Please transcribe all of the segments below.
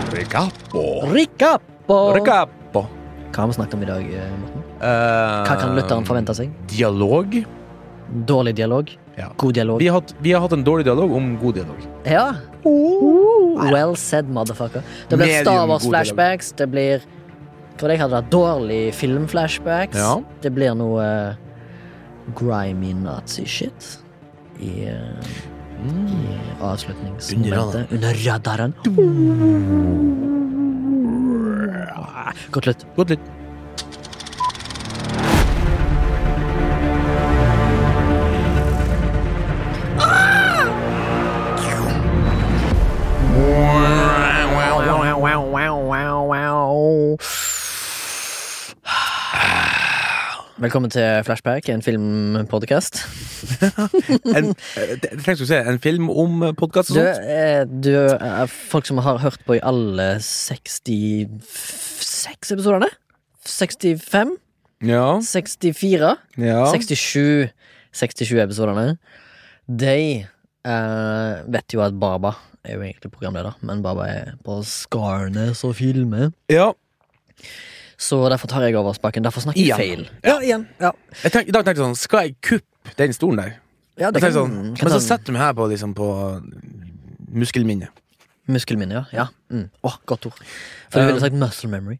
Recappo. Rikappo! Recappo. Hva har vi snakket om i dag, eh, Morten? Eh, Hva kan lytteren forvente seg? Dialog. Dårlig dialog? Ja. God dialog? Vi har, hatt, vi har hatt en dårlig dialog om god dialog. Ja. Well said, motherfucker. Det blir Medium Star god Wars-flashbacks. Det blir Hva var det jeg hadde? da? Dårlig film-flashbacks. Ja. Det blir noe eh, grimy nazi-shit i, eh, Mm. i avslutningsmomentet. Under radaren. Godt lytt. Godt litt. Velkommen til Flashback, en filmpodkast. En, eh, det- jeg tenkte å si en film om podkast og Du, sånt. eh, du er folk som har hørt på i alle 66 episodene? 65? Ja. 64? ja. 67 67 episodene. De eh, vet jo at Baba er jo egentlig programleder, men Baba er på Skarnes og filmer. ja. Så derfor tar jeg over spaken. Derfor snakker jeg Igjen. feil. Ja, igjen. Ja, Jeg tenk, I dag tenkte jeg sånn Skal jeg kuppe den stolen der? det Jeg kan, tenkte sånn, kan men ta så en setter vi her på, liksom, på muskelminnet. Muskelminne, ja. ja. Mm. Eh, Åh, godt ord. For du ville sagt muscle memory.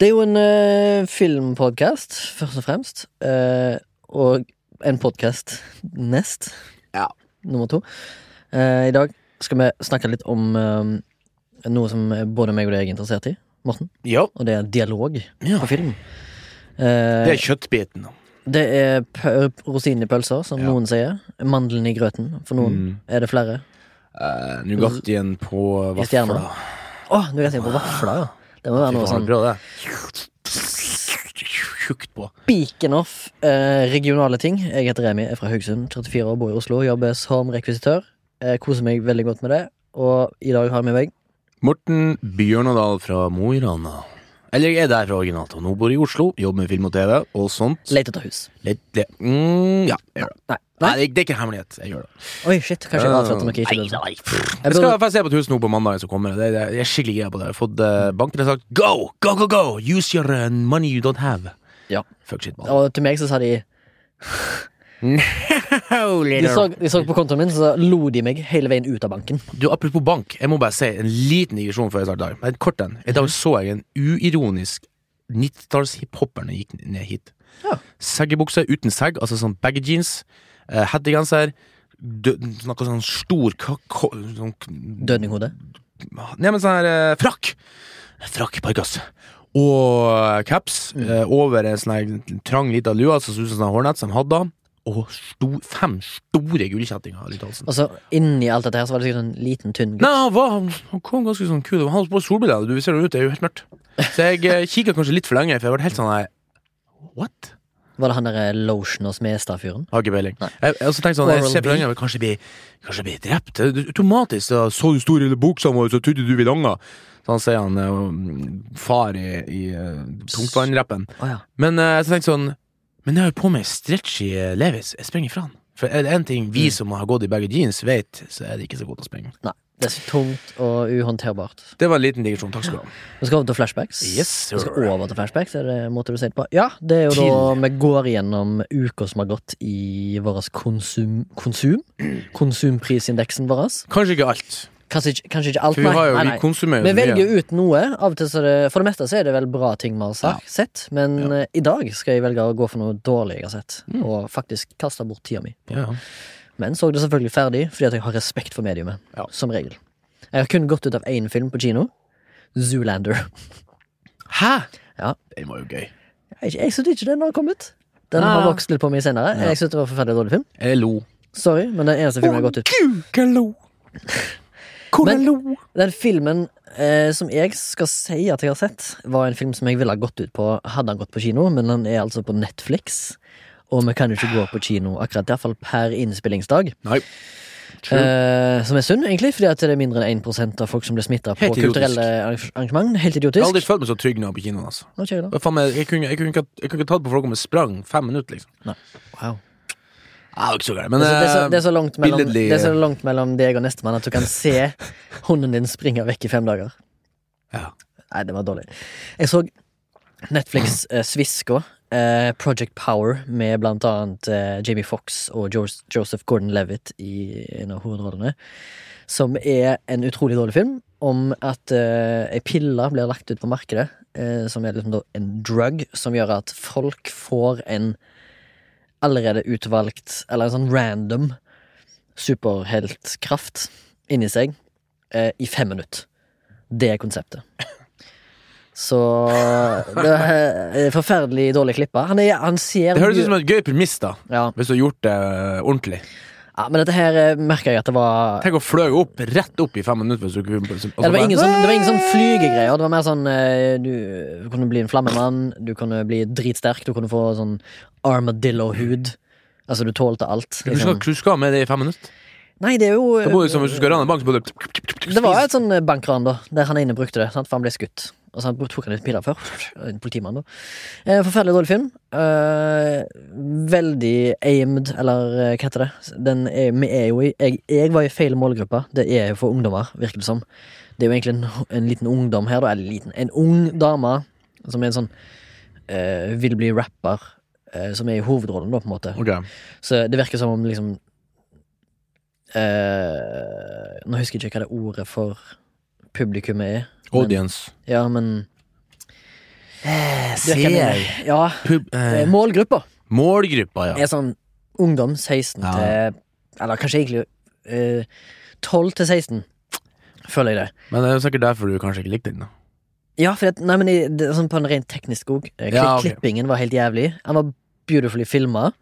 Det er jo en uh, filmpodkast, først og fremst. eh, og en podkast nest. Ja. Nummer to. Eh, I dag skal vi snakke litt om eh, noe som både meg og deg er interessert i, Morten. Ja. Og det er dialog Ja. på film. Eh, Det er kjøttbiten. da. det er p- rosinen i pølser, som Ja. noen sier. Mandelen i grøten, for noen. Er det flere? Eh, Nougatien på I Eh, stjerna. vafla. Å, nå kan jeg tenke på vafler, ja. Det må være noe sånn Bra, det. Tjukt på. Speaking sånn of eh, regionale ting. Jeg heter Remi, er fra Haugesund, 34 år, bor i Oslo. Jobber som rekvisitør. Eh, koser meg veldig godt med det. Og i dag har jeg med meg Morten Bjørnadal fra Mo i Rana. Eller jeg er derfra originalt, og nå bor jeg i Oslo, jobber med film og TV og sånt. Leit etter hus. Litt, litt. Mm, ja, jeg gjør det. Nei. Nei, Nei. Ah. det, det er ikke en hemmelighet. Jeg gjør det. Oi, shit. Kanskje jeg avslørte noe jeg ikke burde Nei, nei. Jeg Jeg skal i burde- hvert fall se på et hus nå på mandag som kommer. Det, det, jeg er skikkelig gira på det. Jeg har fått eh, banken har sagt go, go, go, go! Use your eh, money you don't have. Ja. Fuck shit, man. Og til meg så sa de De så, de så på kontoen min, så lo de meg hele veien ut av banken. Du, Apropos bank, jeg må bare si en liten digresjon før jeg starter. dagen. En kort en. I dag så jeg en uironisk 90-talls-hiphopper når jeg gikk ned hit. Ja. Seggebukse uten segg, altså sånn baggy jeans, eh, hettegenser, dø- noe sånn stor ka- ko- sånn, Dødninghode. Nei, men sånn her eh, frakk! Frakk, parkas. Og caps eh, over en sånn her trang lita lue som så ut som sånn hårnett som han hadde. Og sto, fem store gullkjettinger rundt halsen. Og så inni alt dette her så var det sikkert en liten, tynn gutt. Nei, han, var, han, han kom ganske sånn kul. Han hadde på solbriller. Du ser det ut, det er jo helt mørkt. Så jeg eh, kikket kanskje litt for lenge, for jeg ble helt sånn nei, What? Var det han eh, derre Lotion og Smestad-fyren? Har ikke peiling. Jeg, jeg, så tenkte sånn, jeg Oral ser for B. lenge, jeg vil kanskje bli, kanskje bli drept. Det- det- Automatisk. Så, så du stor lille buksa vår, så trodde du vi langa. Så han sier han eh, mm, far i, i eh, tungtvannrappen. Å ja. Men eh, så tenkte jeg sånn Men jeg har jo på meg stretchy eh, Levis. Jeg springer fra han. For er det én ting vi som har gått i begge jeans, vet, så er det ikke så godt å springe. Nei. Det er så tungt og uhåndterbart. Det var en liten digresjon. Takk skal du ha. Vi skal over til flashbacks. Yes, sir. Vi skal over til flashbacks, er det måte du sier det på? Ja, det er jo da vi går gjennom uka som har gått i vår konsum... Konsum? Konsumprisindeksen vår. Kanskje ikke alt. Kanskje, ikke- kanskje ikke alt, For vi har jo, nei, vi nei. konsumerer Vi jo så mye. velger jo ut noe. Av og til så er det, for det meste så er det vel bra ting vi har sagt, sett, men eh, i dag skal jeg velge å gå for noe dårlig jeg har sett, Mm. og faktisk kaste bort tida mi. Ja. Men så det selvfølgelig ferdig, fordi at jeg har respekt for mediumet. Ja. Som regel. Jeg har kun gått ut av én film på kino. Zoolander. Hæ?! Ja. Den var jo gøy. Jeg, jeg syntes ikke den har kommet. Den Ah. har vokst litt på meg senere. Jeg syntes det var en forferdelig dårlig film. Jeg lo. Sorry, men den eneste filmen jeg har gått ut Gud, jeg lo! Hvor Men- lo? Den filmen eh, som jeg skal si at jeg har sett, var en film som jeg ville ha gått ut på hadde han gått på kino, men den er altså på Netflix. Og vi kan jo ikke gå på kino akkurat, iallfall per innspillingsdag. Nei. True. Eh, som er synd, egentlig, fordi at det er mindre enn 1 av folk som blir smitta på Helt idiotisk. kulturelle arrange- arrangement. Helt jeg har aldri idiotisk. følt meg så trygg når jeg er på kinoen. altså Nå kjører jeg da. Hva faen, jeg, jeg, kunne, jeg, kunne ikke, jeg kunne ikke tatt på folk om jeg sprang fem minutter, liksom. Wow. Jeg var ikke så gæren, men eh, Det er, så, eh, det, er så, det, er så langt mellom, billedlig- det er så langt mellom deg og nestemann at du kan se hunden din springe vekk i fem dager. Ja. Nei, det var dårlig. Jeg så Netflix Mm. eh, Sviska, eh, Project Power, med blant annet eh, Jamie Fox og jo Joseph Gordon-Levitt i en av hovedrollene. Som er en utrolig dårlig film om at eh, ei pille blir lagt ut på markedet, eh, som er liksom da en drug som gjør at folk får en allerede utvalgt, eller en sånn random superheltkraft inni seg eh, i fem minutter. Det er konseptet. Så det er eh, Forferdelig dårlig klippa. Han, er, han ser Det høres ut som et gøy premiss, da. ja. Hvis du har gjort det eh, ordentlig. ja, Men dette her eh, merker jeg at det var Tenk å fløy opp, rett opp i fem minutter. Hvis du ikke kunne- og så ja, det, var bare- ingen sånn, det var ingen sånn flygegreier. Det var mer sånn eh, Du kunne bli en flammemann, du kunne bli dritsterk, du kunne få sånn armadillo-hud. Altså, du tålte alt. Du skal, Liksom. du skal med det i fem minutter. Nei, det er jo eh, Det må du, som, hvis du skal rane en bank, så må du Det var et sånn bankran, da, der han ene brukte det, sant? for han ble skutt. Og så han tok han litt piller før. En politimann, da. Eh, Forferdelig dårlig film. Eh, veldig aimed, eller eh, hva heter det. Den er, vi er jo i jeg, jeg var i feil målgruppe. Det er jo for ungdommer, virker det som. Det er jo egentlig en, en liten ungdom her, da. Eller liten. En ung dame som er en sånn eh, vil bli rapper, eh, som er i hovedrollen, da, på en måte. Ok. Så det virker som om liksom eh, Nå husker jeg ikke hva det ordet for publikummet er. Audience. Ja, men det virker- Ser. Ja, Pub, eh, eh, målgruppa målgruppa, ja. er sånn ungdom 16 Ja. til Eller kanskje egentlig eh, 12 til 16, føler jeg det. Men det er jo sikkert derfor du kanskje ikke likte den. da Ja, for det, nei, men i- det, er sånn på en rent teknisk skog. Kli, Ja, ok. Klippingen var helt jævlig. Han var beautifully filma,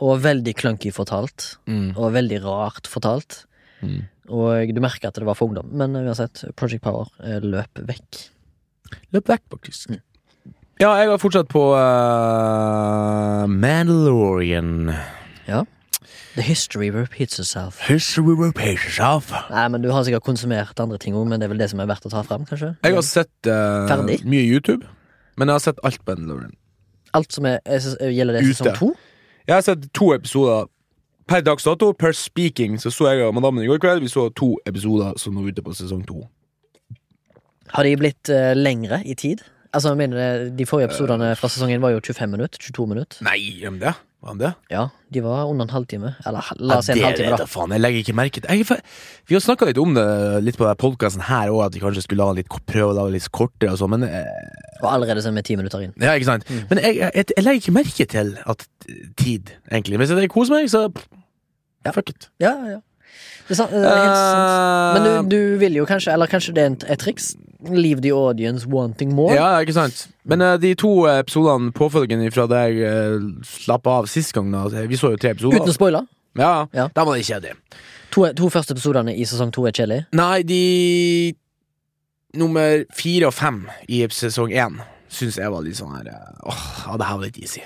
og veldig clunky fortalt. Og veldig rart fortalt. Mm. Og du merker at det var for ungdom. Men uansett, Project Power eh, løp vekk. Løp vekk, faktisk. Ja, jeg var fortsatt på eh, Mandalorian. The history repeats itself. History repeats itself. Nei, men Du har sikkert konsumert andre ting òg, men det er vel det som er verdt å ta fram? kanskje? Jeg har sett eh, Ferdig? mye YouTube, men jeg har sett alt Mandalorian. Alt som er, jeg synes- eh, Gjelder det sesong Ute. to? Jeg har sett to episoder per dags dato. Per speaking så så jeg og madammen i går kveld. Vi så to episoder som var ute på sesong to. Har de blitt eh, lengre i tid? Altså, jeg mener, det- De Eh. forrige episodene fra sesongen var jo 25 minutter. 22 minutter. Nei, om det? Var det? Ja, De var under en halvtime. Eller ha- la oss si en Ja, det halvtime, vet da. jeg faen, jeg legger ikke merke til jeg, for, Vi har snakka litt om det litt på podkasten her òg, at vi kanskje skulle ha litt, prøve å lage litt kortere og sånn, men eh, Og allerede så er vi ti minutter inn. Ja, ikke sant? Mm. Men jeg, jeg, jeg legger ikke merke til at tid, egentlig. Hvis jeg koser meg, så pff, Fuck it. Ja, ja, ja. Det er sant. Det er helt sant. Eh. Men du, du vil jo kanskje, eller kanskje det er en- et triks? Leave the audience wanting more? Ja, ikke sant? Men eh, de to eh, episodene påfølgende fra da jeg eh, slapp av sist gang, da, altså, vi så jo tre episoder. Uten å spoile. ja, Ja. Da var det kjedelig. To, to første episodene i sesong to er kjedelige. Nei, de nummer fire og fem i sesong én syns jeg var litt sånn her eh, Åh, ja, det her var litt easy.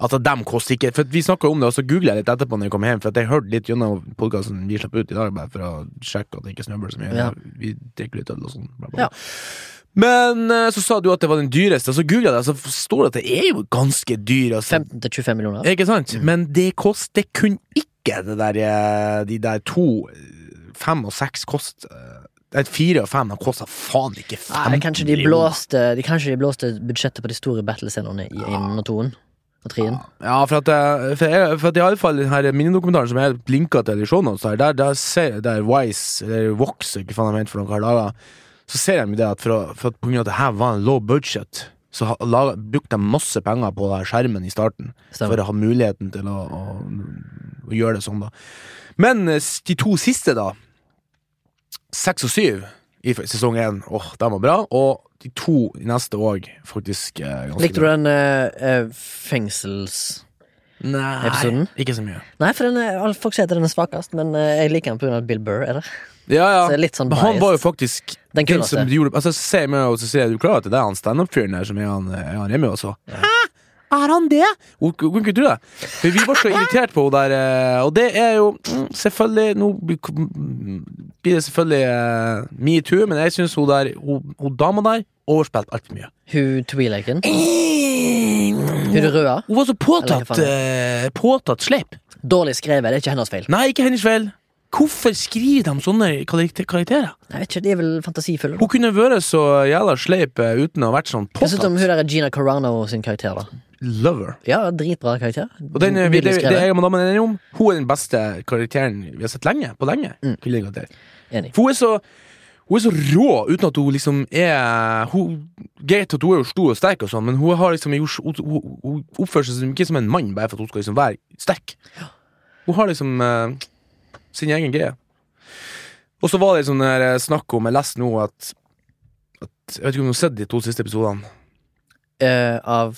At dem koster ikke For Vi snakka om det, og så googla jeg litt etterpå når jeg kom hjem. For at jeg hørte litt gjennom podkasten vi slapp ut i dag, bare for å sjekke at det ikke snøbler så mye. Ja. Vi drikker litt øl og sånn. bla, bla. Ja. Men eh, så sa du at det var den dyreste, og så googla jeg det, og så står det at det er jo ganske dyr. Altså. 15 til 25 millioner. Ikke sant? Mm. Men det kost, det kunne ikke det der, eh, de der to, eh, fem og seks kost eh, Nei, fire og fem har kosta faen ikke fem Nei, kanskje de blåste de, Kanskje de blåste budsjettet på de store battlescenene i Ah. én og toen og treen. Ja, for at, eh, for, jeg, for at i alle fall den her minidokumentaren som jeg linka til i shownotes, her, der, der ser jeg der Wise, eller Vox, ikke faen jeg mente for noen par dager, så ser jeg jo det at for, å- for at på grunn av at det her var en low budget, så ha- laga- brukte de masse penger på den her skjermen i starten. for Stemmer. å ha muligheten til å, å, å gjøre det sånn, da. Men eh, s- de to siste, da, seks og syv i f- sesong én, åh, de var bra. Og de to i neste òg, faktisk. eh, ganske Likte du bra. den eh, eh, fengsels... Nei, episoden? Ikke så mye. Nei, for den er, alle folk sier at den er svakest, men eh, jeg liker den pga. at Bill Burr er der. Ja, ja. Så jeg er litt sånn Men han biased. var jo faktisk Den den som kuleste. gjorde Altså, se meg og så sier jeg, du klarer at det er han standup-fyren der som er han, er han hjemme også. Hæ? Er han det? Hun hun kunne ikke tro det. For vi var så irritert på henne der, eh, og det er jo mm, selvfølgelig Nå blir mm, blir det selvfølgelig eh, metoo, men jeg syns hun der Hun, hun dama der overspilte altfor mye. Hun Twilaken. Hun Hun røde. var så Eller hva påtatt faen eh, Påtatt sleip. Dårlig skrevet. Det er ikke hennes feil. Nei, ikke hennes feil. Hvorfor skriver de sånne karakter- karakterer? Jeg vet ikke, de er vel fantasifulle. da. Hun kunne vært så jævla sleip eh, uten å ha vært sånn Hva syns du om påtatt. hun der Gina Carano sin karakter, da? Lover. Ja, dritbra karakter. Og den, eh, vi, det, Billig det skrevet. jeg og madammen er enige om, hun er den beste karakteren vi har sett lenge. På lenge. Vil jeg garantere. Mm. Enig. For hun er så hun er så rå, uten at hun liksom er hun, Greit at hun er jo stor og sterk, og sånn men hun, har liksom, gjort- hun, hun, hun oppfører seg som, ikke som en mann bare for at hun skal liksom være sterk. Hun har liksom eh, sin egen greie. Og så var det liksom der, eh, snakk om Jeg leste nå at, at Jeg vet ikke om du har sett de to siste episodene. Eh, av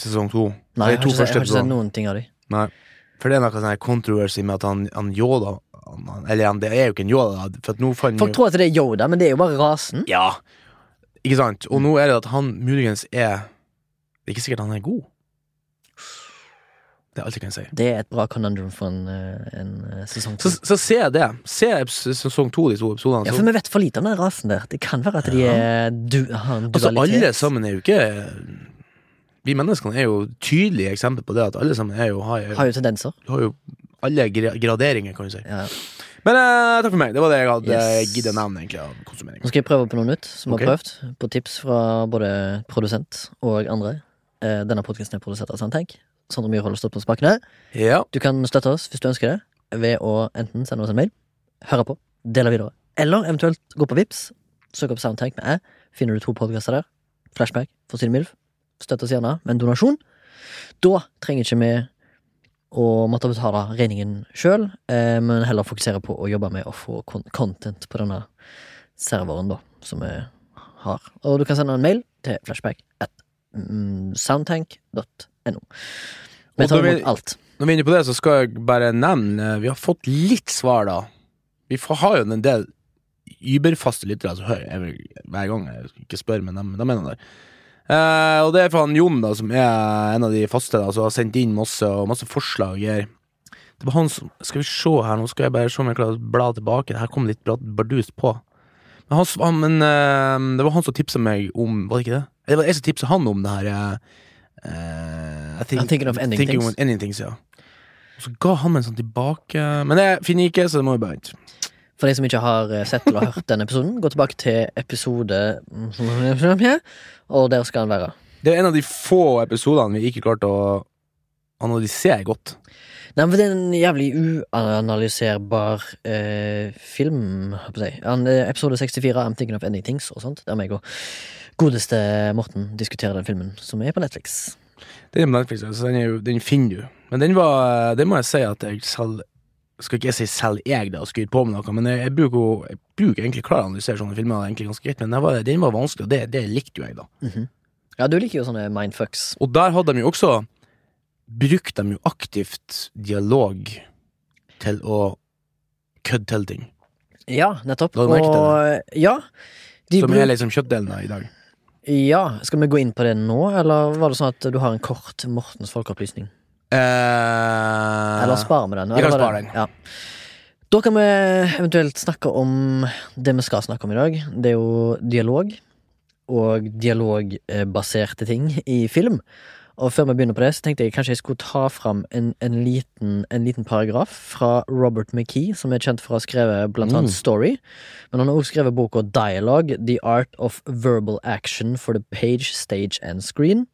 Sesong to. Nei, De jeg har, to ikke, første sett- jeg har ikke sett episodene. noen ting av de. Nei. For det er noe sånn her controversy med at han, han Yoda han, han, Eller han, det er jo ikke en Yoda, da, for at nå fant Folk tror at det er Yoda, men det er jo bare rasen. Ja. Ikke sant? Og nå er det at han muligens er Det er ikke sikkert han er god. Det er alt jeg kan si. Det er et bra conundrum for en, eh, en eh, sesong Så, to. så ser jeg det. Ser jeg sesong to, de to episodene. Ja, så- for vi vet for lite om den rasen der. Det kan være at de er du, har en altså, dualitet. alle sammen er jo ikke Vi menneskene er jo tydelige eksempler på det, at alle sammen er jo, har, har jo, jo tendenser. har jo alle gra- graderinger, kan du si. Ja. Men eh, takk for meg. Det var det jeg hadde Yes. giddet å nevne, egentlig, av konsumering. Nå skal jeg prøve på noe nytt som Ok. har prøvd. På tips fra både produsent og andre. Eh, Denne podkasten er produsert av Sandtank. Sondre Myhre holder stopp på spakene. Ja. Du kan støtte oss hvis du ønsker det ved å enten sende oss en mail, høre på, dele videre, eller eventuelt gå på Vips, søk opp Soundtank med æ, finner du to podkaster der, Flashback for Silje Milf, støtt oss gjerne med en donasjon. Da trenger ikke vi å måtte betale regningen sjøl, men heller fokusere på å jobbe med å få kon- content på denne serveren, da, som vi har. Og du kan sende en mail til flashback at mm, soundtank.no. Og Vi da tar vil- imot alt. Når vi er inne på det, så skal jeg bare nevne eh, Vi har fått litt svar, da. Vi får, har jo en del überfaste lyttere som hører jeg vil- hver gang. Jeg skal ikke spørre, men de, de er noen der. Eh, og det er fra han Jon, da, som er en av de faste, da, som har sendt inn masse, og masse forslag. Her. Det var han som Skal vi se her, nå skal jeg bare se om jeg klarer å bla tilbake. Det her kom litt bra- bardust på. Men, han, s- han, men eh, det var han som tipsa meg om Var det ikke det? Eller var det jeg som tipsa han om det her? eh, eh, I think, I'm thinking of ending thinking things. of ending things, ja. Og så ga han meg en sånn tilbake Men det finner jeg ikke, så det må jo bare vente. For de som ikke har eh, sett eller hørt denne episoden, gå tilbake til episode mm, Og der skal han være. Det er en av de få episodene vi ikke klarte å analysere godt. Nei, men Det er en jævlig uanalyserbar eh, film, holdt på å si. Han, eh, episode 64, I'm thinking of ending things, og sånt. Der meg og godeste Morten diskuterer den filmen, som er på Netflix. Den er på Netflix, så den, er jo, den finner du. Men den var Det må jeg si at jeg selv Skal ikke jeg si selv jeg, da, og skryte på med noe, men jeg, jeg bruker jo Jeg bruker egentlig klare å analysere sånne filmer egentlig ganske greit, men den var, den var vanskelig, og det, det likte jo jeg, da. Ja, du liker jo sånne mindfucks. Og der hadde de jo også Brukt dem jo aktivt dialog til å kødde til ting, Ja, nettopp. La du merke til Og ja, de som bruk- er liksom kjøttdelen av i dag. ja, Skal vi gå inn på det nå, eller var det sånn at du har en kort Mortens folkeopplysning? Eh, Eller spare med den. Vi kan eller spare bare- den. Ja. Da kan vi eventuelt snakke om det vi skal snakke om i dag. Det er jo dialog. Og dialogbaserte ting i film. Og før vi begynner på det, så tenkte jeg kanskje jeg skulle ta fram en, en, liten, en liten paragraf fra Robert McKee, som er kjent for å ha skrevet blant annet Mm. Story. Men han har også skrevet boka Dialogue, The Art of Verbal Action for the Page, Stage and Screen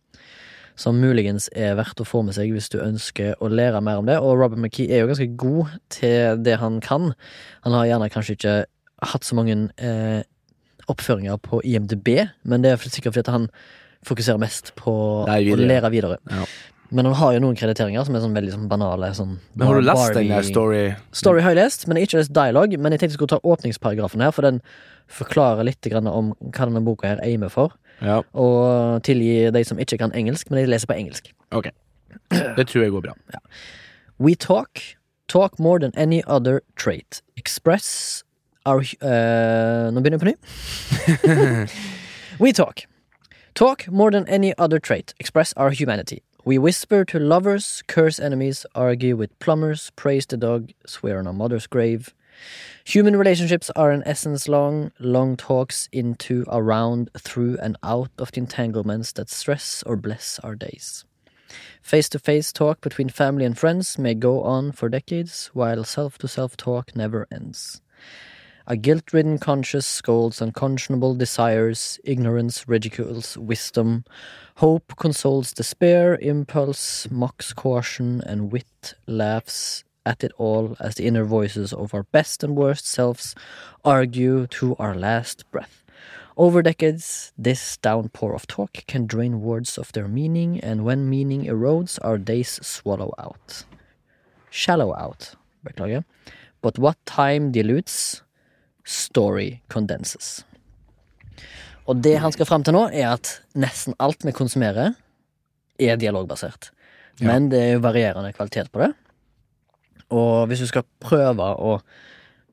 som muligens er verdt å få med seg hvis du ønsker å lære mer om det. Og Robert McKee er jo ganske god til det han kan. Han har gjerne kanskje ikke hatt så mange eh, oppføringer på IMDb, men det er sikkert fordi at han fokuserer mest på Det er å videre. lære videre. Ja. Men han har jo noen krediteringer som er sånn veldig sånn banale. Sånn Men har du lest den der Barbie- story? Story har jeg lest, men jeg har ikke lest dialog. Men jeg tenkte jeg skulle ta åpningsparagrafen her, for den forklarer litt grann om hva denne boka her aimer for. Ja, Og tilgi de som ikke kan engelsk, men de leser på engelsk. ok. Det tror jeg går bra. We talk, talk more than any other trait. Express our eh, Nå begynner jeg på ny. We talk. Talk more than any other trait. Express our humanity. We whisper to lovers, curse enemies, argue with plumbers, praise the dog, swear on our mother's grave. Human relationships are in essence long, long talks into, around, through, and out of the entanglements that stress or bless our days. Face to face talk between family and friends may go on for decades, while self to self talk never ends. A guilt ridden conscience scolds unconscionable desires, ignorance ridicules wisdom, hope consoles despair, impulse mocks caution, and wit laughs at it all as the inner voices of our best and worst selves argue to our last breath. Over decades, this downpour of talk can drain words of their meaning, and when meaning erodes, our days swallow out. Shallow out. Beklager. But what time dilutes, story condenses. Og det han skal fram til nå, er at nesten alt vi konsumerer, er dialogbasert. Ja. Men det er jo varierende kvalitet på det. Og hvis du skal prøve å,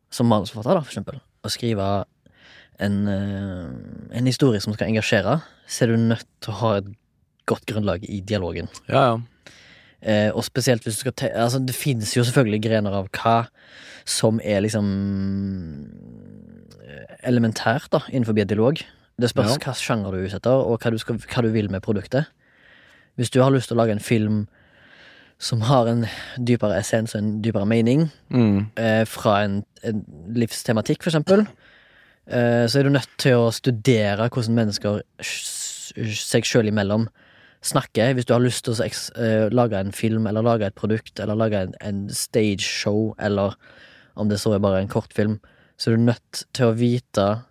som manusforfatter, da, for eksempel, å skrive en, eh, en historie som skal engasjere, så er du nødt til å ha et godt grunnlag i dialogen. Ja, ja. Eh, og spesielt hvis du skal te altså, Det finnes jo selvfølgelig grener av hva som er liksom eh, elementært da, innenfor dialog. Det spørs Ja. hva sjanger du er ute etter, og hva du, skal, hva du vil med produktet. Hvis du har lyst til å lage en film som har en dypere essens og en dypere mening, Mm. eh, fra en, en livstematikk, for eksempel, eh, så er du nødt til å studere hvordan mennesker s- seg sjøl imellom snakker. Hvis du har lyst til å eks- eh, lage en film, eller lage et produkt, eller lage en, en stageshow, eller om det så er bare en kortfilm, så er du nødt til å vite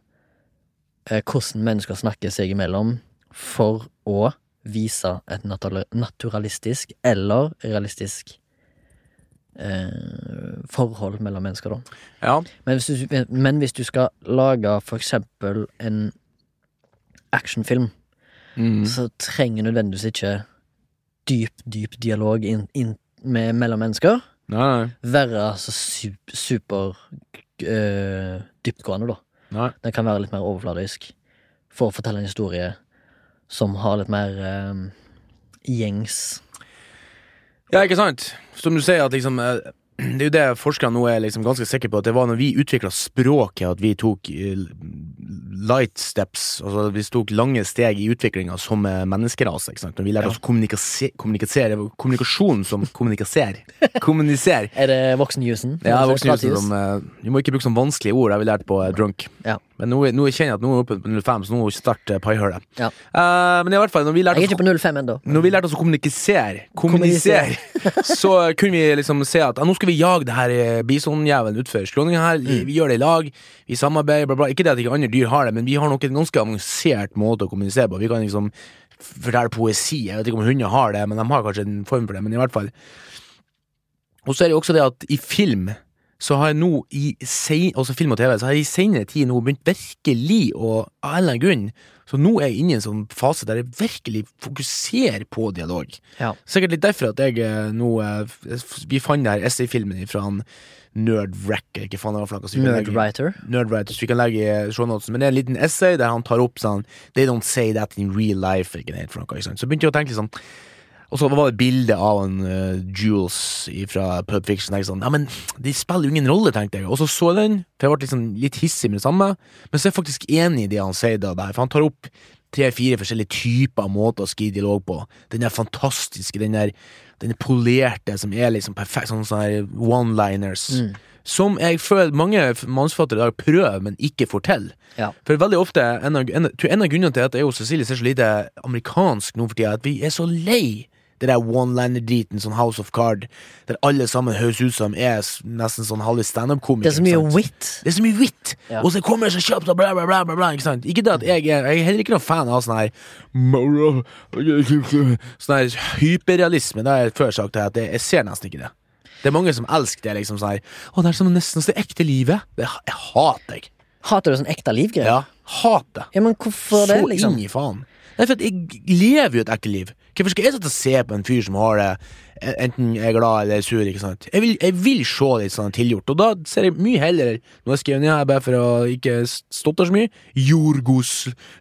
eh, hvordan mennesker snakker seg imellom for å vise et natale- naturalistisk eller realistisk eh, forhold mellom mennesker, da. ja. Men hvis du, men hvis du skal lage for eksempel en actionfilm, Mm. så trenger nødvendigvis ikke dyp, dyp dialog inn, inn med, mellom mennesker. Nei, nei. Være så su super eh, dyptgående, da. nei. Den kan være litt mer overfladisk for å fortelle en historie som har litt mer eh, gjengs Ja, ikke sant? Som du sier, at liksom eh, Det er jo det forskerne nå er liksom ganske sikre på, at det var når vi utvikla språket, at vi tok eh, light steps, altså vi tok lange steg i utviklinga som eh, menneskerase. ikke sant? Når vi lærte oss å kommunikase- kommunikasere Kommunikasjon som kommunikasere. Kommunisere. Er det voksenjusen? Ja, voksne Pratis? jusen som eh, Vi må ikke bruke sånne vanskelige ord, det har vi lært på eh, drunk. Ja. Men nå, er- nå kjenner jeg at nå er vi oppe på 05, så nå starter paihølet. Ja. Eh, men i hvert fall, når vi lærte Jeg er oss ikke på 05 ennå. når vi lærte oss å kommunisere, kommunisere så kunne vi liksom se at ja, nå skal vi jage det her eh, bisonjævelen utfor slåninga her. Vi, vi gjør det i lag, vi samarbeider, bla, bla. Ikke det at ikke andre dyr har det, men vi har nok en ganske avansert måte å kommunisere på. Vi kan liksom f- fortelle poesi. Jeg vet ikke om hunder har det, men de har kanskje en form for det. Men i hvert fall. Og så er det jo også det at i film så har jeg nå i sen, også film og TV, så har jeg i senere tid nå begynt virkelig å Av en eller annen grunn Så nå er jeg inne i en sånn fase der jeg virkelig fokuserer på dialog. Ja. Sikkert litt derfor at jeg eh, nå eh, f- Vi fant den her essayfilmen fra han Nerdwreck, eller hva faen det var for noe. så vi kan legge- Nerdwriter. Nerdwriters. Vi kan legge i shownotesen. Men det er en liten essay der han tar opp sånn They don't say that in real life. Ikke det, for noe, ikke sant? Så begynte jeg å tenke sånn Og så var det et bilde av han eh, Jules fra Pub Fiction. Jeg sånn, ja, men De spiller jo ingen rolle, tenkte jeg. Og så så jeg den, for jeg ble liksom litt hissig med det samme. Men så er jeg faktisk enig i det han sier, da, der, for han tar opp tre-fire forskjellige typer av måter å skrive dialog på. Den der fantastiske, den der den polerte, som er liksom perfekt, sånn sånn her one-liners. Som jeg føler mange f- manusforfattere i dag prøver, men ikke får til. Ja. For veldig ofte, en av, en, tror jeg en av grunnene til at jeg og Cecilie ser så lite amerikansk nå for tida, at vi er så lei det der one-liner-driten, sånn House of Card, der alle sammen høres ut som er s- nesten sånn halve Det standup-komikere. er så ikke mye sant? wit. Det er så mye hvitt, Ja. og så kommer det så kjapt og bla, bla, bla. bla, bla ikke, sant? ikke det at jeg er Jeg er heller ikke noen fan av sånn her Sånn her hyperrealisme. Det har jeg før sagt at jeg, jeg ser nesten ikke det. Det er mange som elsker det. liksom sånn her Å, det er som nesten som det ekte livet. Det, jeg hater jeg. Hater du sånn ekte liv-greier? Ja, hater. Ja, men hvorfor det, så liksom? inn i faen. Nei, for at jeg lever jo et ekte liv. Hvorfor skal jeg sitte og se på en fyr som har det, eh, enten er glad eller er sur? ikke sant? Jeg vil, jeg vil se litt sånn tilgjort, og da ser jeg mye heller Nå har jeg skrevet ned her bare for å ikke stotre så mye. Jorgos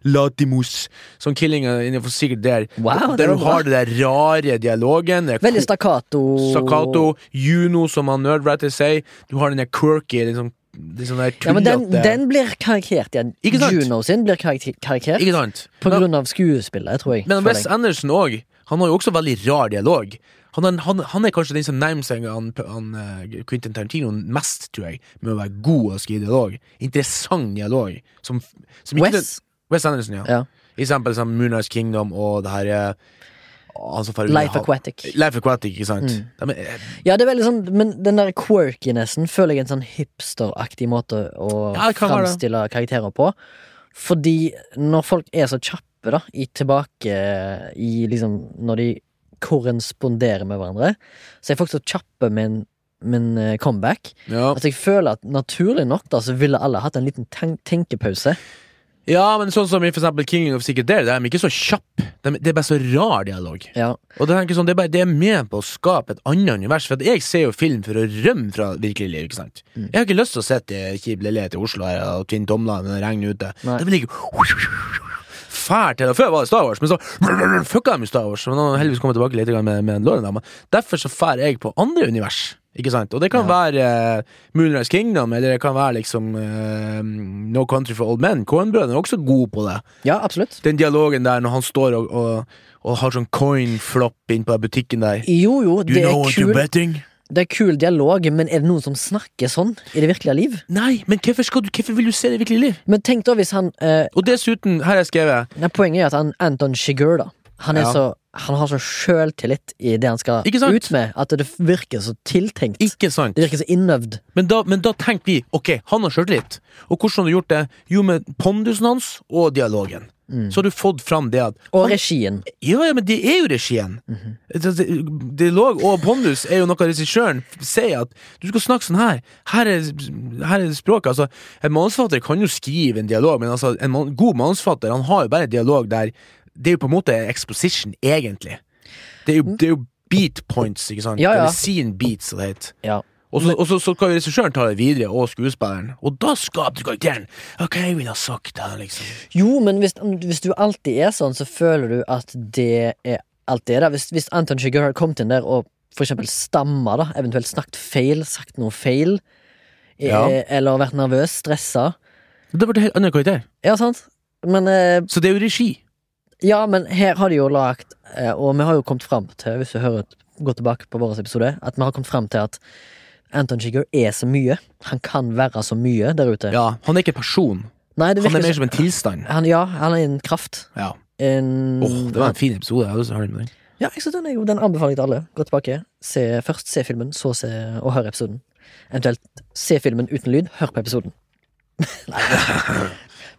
Latimus. Sånn killinger innenfor sikkert der. Wow, det der du var bra. har den der rare dialogen. det er Veldig ko- stakkato. Staccato, Juno, som han nerdwriter sier. Du har den der quirky, liksom, liksom der Ja, men den, tullete- den blir karikert igjen. Ikke sant? Juno sin blir karik- karikert Ikke sant? på Men- grinn av skuespillet, tror jeg. Men føler Wes jeg. Anderson òg. Han har jo også veldig rar dialog. Han er, han, han er kanskje den som nærmer seg han, han, eh, Quentin Tarantino mest, tror jeg, med å være god og skrive dialog. Interessant dialog. Som, som ikke- Wes. Wes Anderson, ja. Ja. I eksempel som Moonrise Kingdom og det her eh, han som farer ut i Life hav- Aquatic. Mm. Life Aquatic, ikke sant? De er, Ja, det er veldig sånn, men den der quirkinessen føler jeg er en sånn hipsteraktig måte å Ja, det kan være det. framstille karakterer på. Fordi når folk er så kjappe, da, i tilbake i liksom Når de korresponderer med hverandre, så er folk så kjappe med en, med en eh, comeback. ja. At jeg føler at naturlig nok da, så ville alle hatt en liten ten tenkepause. ja, men sånn som i for eksempel King of Secret Dare, de er ikke så kjappe. De, det er bare så rar dialog. Ja, Og det er, ikke sånn, det, er bare, det er med på å skape et annet univers. For at jeg ser jo film for å rømme fra virkelig liv. ikke sant? Jeg har ikke lyst til å sitte i kjip leilighet i Oslo her, og tvinne tomlene når det regner ute. Nei. Det blir ikke fælt til det. Før var det Star Wars, men så fucka de jo Star Wars. Men nå har jeg heldigvis kommet tilbake litt grann med, med Lauren. da, men Derfor så drar jeg på andre univers. Ikke sant? Og det kan være eh, Moonrise Kingdom, eller det kan være liksom eh, No Country for Old Men. Kornbrødrene er også gode på det ja absolutt. den dialogen der når han står og, og, og har sånn coin-flopp inn på den butikken der. Jo, jo, You det er, know what you're kul, betting? det er kul dialog, men er det noen som snakker sånn i det virkelige liv? Nei, men hvorfor, skal du, hvorfor vil du se det i virkelig liv? Men tenk da hvis han eh, Og dessuten, her har jeg skrevet Nei, poenget er at han, Anton Chigurh da han, er Ja. så, han har så sjøltillit i det han skal Ikke sant? ut med, at det virker så tiltenkt. Ikke sant? Det virker så innøvd. Men da, men da tenkte vi ok, han har sjøltillit. Og hvordan har du gjort det? Jo, med pondusen hans og dialogen. Så har du fått fram det at Og regien. Ja, ja, men det er jo regien. Det- det- Dialog og pondus er jo noe regissøren f- sier at du skal snakke sånn her. Her er, her er språket. Altså, en manusforfatter kan jo skrive en dialog, men altså, en man, god manusforfatter han har jo bare dialog der Det er jo på en måte exposition, egentlig. Det er jo, det er jo beat points, ikke sant? Ja, ja. Eller scene beats, som det heter. Ja. Og så, og så, så kan jo regissøren ta det videre, og skuespilleren. Og da skaper du karakteren. Ok, jeg ville ha sagt det, liksom. Jo, men hvis, hvis du alltid er sånn, så føler du at det er alltid er der. Hvis, hvis Anton Chigurh hadde kommet inn der og for eksempel stamma, da, eventuelt snakket feil, sagt noe feil, eh, Ja. eller vært nervøs, stressa Det ble en helt annen karakter. Ja, sant? Men eh, Så det er jo regi. Ja, men her har de jo lagt eh, Og vi har jo kommet fram til, hvis du hører, går tilbake på vår episode, at vi har kommet fram til at Anton Chigurh er så mye. Han kan være så mye der ute. Ja, han er ikke en person. Nei, det Han er virker mer som Mm, som en tilstand. han, Ja, han er en kraft. Ja. En, Åh, det var en fin episode. Jeg har lyst til å høre den med deg. Ja, jeg synes den, er jo, den anbefaler jeg til alle. Gå tilbake. Se, først se filmen, så se og hør episoden. Eventuelt se filmen uten lyd, hør på episoden.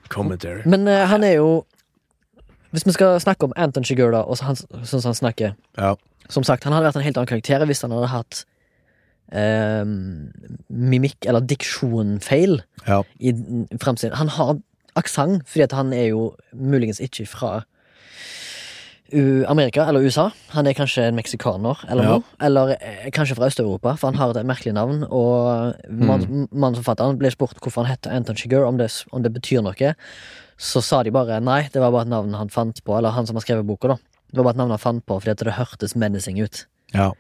Commentary. Men eh, han er jo Hvis vi skal snakke om Anton Chigurh, da, og så han, sånn som han snakker Ja. Som sagt, han hadde vært en helt annen karakter hvis han hadde hatt eh, mimikk eller diksjonfeil Ja. i fremtiden. Han har aksent, fordi at han er jo muligens ikke fra U- Amerika eller USA. Han er kanskje en meksikaner eller Ja. noe. Eller eh, kanskje fra Øst-Europa, for han har et merkelig navn. Og man- Mm. manusforfatteren ble spurt hvorfor han het Anton Chigurh, om, det- om det betyr noe. Så sa de bare nei, det var bare et navn han fant på, eller han som har skrevet boka, da. Det var bare et navn han fant på fordi at det hørtes menacing ut. ja.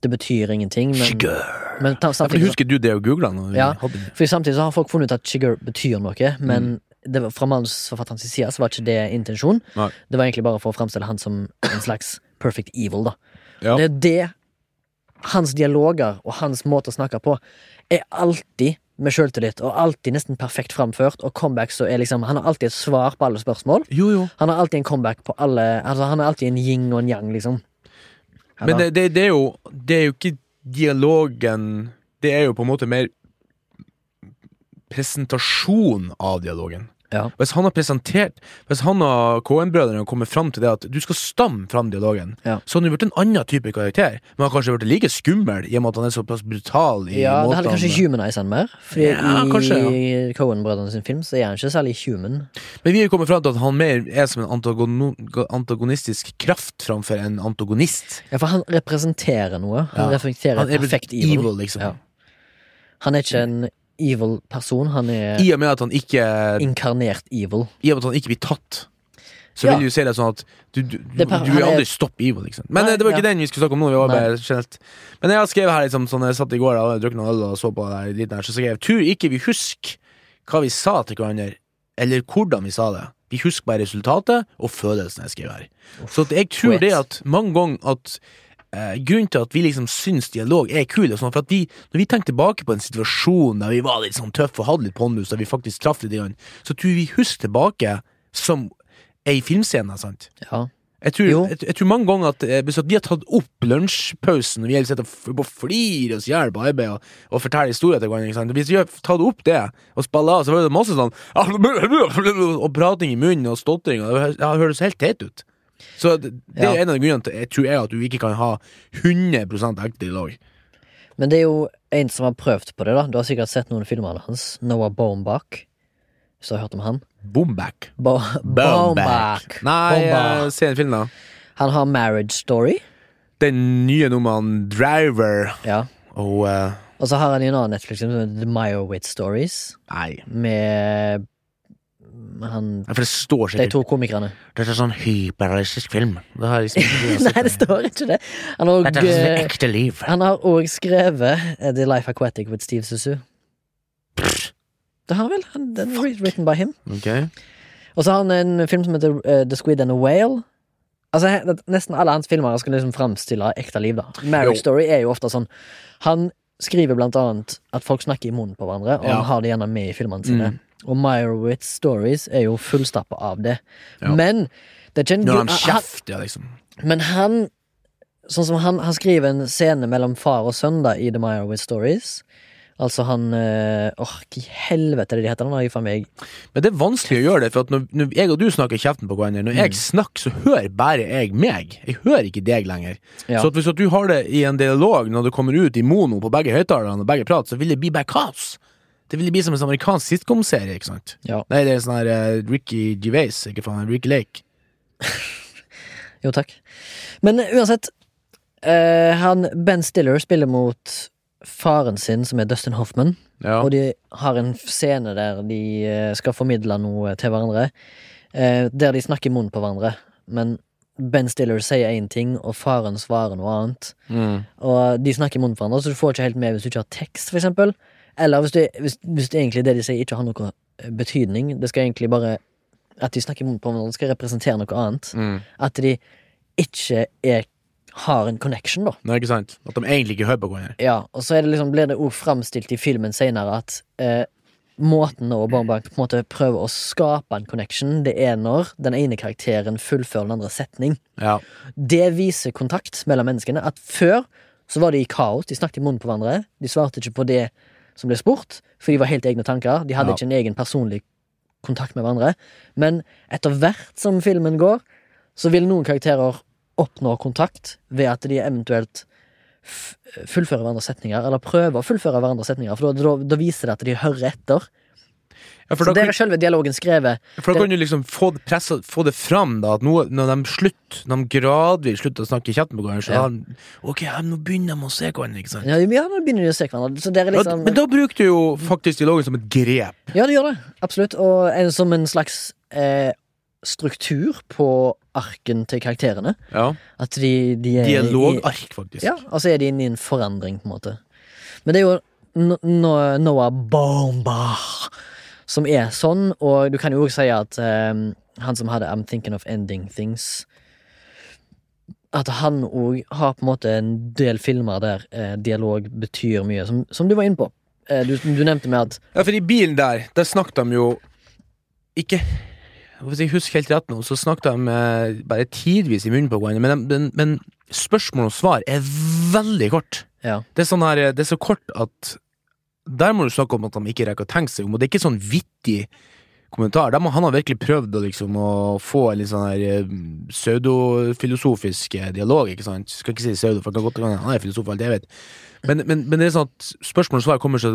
det Det betyr ingenting, men, Sugar. men ta- Ja, for samtidig så- husker du det å google han? Ja. Fordi samtidig så har folk funnet ut at sugar betyr noe, men det var, fra manusforfatterens side så var ikke det intensjon. Mm. Nei. Det var egentlig bare for å fremstille han som en slags perfect evil, da. Ja. Det er det hans dialoger og hans måte å snakke på er alltid med sjøltillit, og alltid nesten perfekt framført, og comeback så er liksom Han har alltid et svar på alle spørsmål. Jo, jo. Han har alltid en comeback på alle Altså, han er alltid en yin og en yang, liksom. Han Men har- det, det, det, er jo, det er jo ikke dialogen Det er jo på en måte mer presentasjon av dialogen. Ja. Hvis han har presentert Hvis han og KN-brødrene kommer fram til det at du skal stamme fram dialogen, Ja. så hadde han jo blitt en annen type karakter. Men han har kanskje blitt like skummel i og med at han er såpass brutal. I Ja, det måten hadde kanskje han- humanized han mer. Fordi Ja, i kanskje, Cohen-brødrene sin film så er han ikke særlig human. Men vi er jo kommet fram til at han mer er som en antagono antagonistisk kraft framfor en antagonist. Ja, for han representerer noe. Han Ja. representerer Han et er perfekt evil, evil. liksom. Ja. Han er ikke en evil person, han er I og med at han ikke inkarnert evil. I og med at han ikke blir tatt, så Ja. vil du si det sånn at du, du, du, Det er per- du vil han er- aldri stoppe Ivo, liksom. Men Nei, eh, det var ikke ja. den vi skulle snakke om nå. Vi var Nei. bare generelt Men jeg har skrevet her liksom sånn jeg satt i går da, og drukket noen øl og så på det her litt der, så skrev jeg tror ikke vi husker hva vi sa til hverandre, eller hvordan vi sa det. De husker bare resultatet og følelsen jeg skriver her. Så at jeg tror poet. det at mange ganger at eh, grunnen til at vi liksom syns dialog er kul, og sånn, for at vi, når vi tenker tilbake på en situasjon der vi var litt sånn tøffe og hadde litt pondus, der vi faktisk traff litt, igjen, så tror vi husker tilbake som ei filmscene, sant? Ja. Jeg tror, Jo. jeg, jeg tror mange ganger at eh, hvis at vi har tatt opp lunsjpausen, og vi sitter og flirer oss i hjel på arbeid og, og forteller historier til hverandre ikke sant? Hvis vi har tatt opp det og spiller av, så var det masse sånn Og prating i munnen og stotring, og det hø- ja, det høres helt teit ut. Så det, det er Ja. en av grunnene til jeg tror jeg at du ikke kan ha 100 ekte dialog. Men det er jo en som har prøvd på det, da. Du har sikkert sett noen filmer av hans. Noah Baumbach. Hvis du har hørt om han. Boomback. Ba Baumbach. Nei, eh, Baumbach. se en film, da. Han har Marriage Story. Den nye nummeren Driver Ja. og eh, Og så har han en annen Netflix-film som heter The Meyerowitz Stories, Nei. med han For det står De sikkert to komikerne. Dette er sånn hyperrealistisk film. Det har jeg liksom ikke sett. Nei, det står ikke det. Han har Dette er sånn det òg ekte liv. Han har òg skrevet eh, The Life Aquatic with Steve Susu. Det har han vel. Han, den er written by him. Ok. Og så har han en film som heter eh, The Squid and the Whale. Altså, he- det- Nesten alle hans filmer skal liksom framstille ekte liv. da Marriage Jo. Story er jo ofte sånn Han skriver blant annet at folk snakker i munnen på hverandre, og Ja. Mm. han har det gjerne med i filmene sine. Og Meyerowitz Stories er jo fullstappa av det. Ja. Men det er ikke en Når han gru- kjefter, ja, liksom. men han Sånn som han, han skriver en scene mellom far og sønn da, i The Meyerowitz Stories. Altså han eh, Åh, hva i helvete er det de heter? Han har jeg for meg Men det er vanskelig å gjøre det, for at når, når jeg og du snakker kjeften på hverandre, når jeg snakker, så hører bare jeg meg. Jeg hører ikke deg lenger. Ja. Så at hvis at du har det i en dialog når du kommer ut i mono på begge høyttalerne og begge prater, så vil det bli bare kaos. Det vil bli som en sånn amerikansk sitcom-serie, ikke sant? Ja. Nei, det er sånn her eh, Ricky Gervais, ikke faen, Ricky Lake. Jo, takk. Men eh, uansett eh, han, Ben Stiller spiller mot faren sin, som er Dustin Hoffman. Ja. Og de har en scene der de eh, skal formidle noe til hverandre. eh, Der de snakker i munnen på hverandre. Men Ben Stiller sier én ting, og faren svarer noe annet. Mm. Og de snakker i munnen på hverandre, så du får ikke helt med hvis du ikke har tekst, for eksempel. Eller hvis, du, hvis, hvis det egentlig det de sier, ikke har noe eh, betydning. Det skal egentlig bare At de snakker i munnen på hverandre, skal representere noe annet. Mm. At de ikke er, har en connection, da. Nei, ikke sant? At de egentlig ikke hører på hverandre. Ja, og så er det liksom, blir det òg framstilt i filmen seinere at eh, måten og Bombank på en måte prøver å skape en connection, det er når den ene karakteren fullfører den andre setning. Ja. Det viser kontakt mellom menneskene. At før så var de i kaos, de snakket i munnen på hverandre. De svarte ikke på det som ble spurt, for de var helt egne tanker. De hadde Ja. ikke en egen personlig kontakt med hverandre. Men etter hvert som filmen går, så vil noen karakterer oppnå kontakt ved at de eventuelt f fullfører hverandres setninger, eller prøver å fullføre hverandres setninger, for da, da, da viser det at de hører etter. ja for Så da kan- der er selve dialogen skrevet. For da kan du liksom få det, pressa, få det fram, da, at nå, når de slutt, når de gradvis slutter å snakke kjeft med hverandre, så Ja. har de- Ok, ja, nå begynner de å se hverandre, ikke sant? Ja, ja, nå begynner de å se hverandre. Så der er Ja, liksom... Men da bruker du jo faktisk dialogen som et grep. Ja, det gjør det. Absolutt. Og en, som en slags eh, struktur på arken til karakterene. Ja. At de, de er Eh, I, Dialogark, faktisk. ja, altså er de inne i en forandring, på en måte. Men det er jo No- No- Noah Baumbach som er sånn, og du kan jo også si at eh, han som hadde I'm Thinking of Ending Things at han òg har på en måte en del filmer der eh, dialog betyr mye, som, som du var inne på. Eh, du, du nevnte med at Ja, for i bilen der, der snakket de jo ikke Hvis jeg husker helt rett nå, så snakket de eh, bare tidvis i munnen på hverandre, men, de- men, men spørsmål og svar er veldig kort. Ja. Det, er sånn her, eh, det er så kort at der må du snakke om at de ikke rekker å tenke seg om, og det er ikke sånn vittig kommentar. Der må, han har virkelig prøvd å, liksom, å få en litt sånn her eh, pseudofilosofisk eh, dialog, ikke sant? Skal ikke si pseudo, for det kan godt hende han er filosof, alt jeg vet. Men, men, men det er sånn at spørsmål og svar kommer så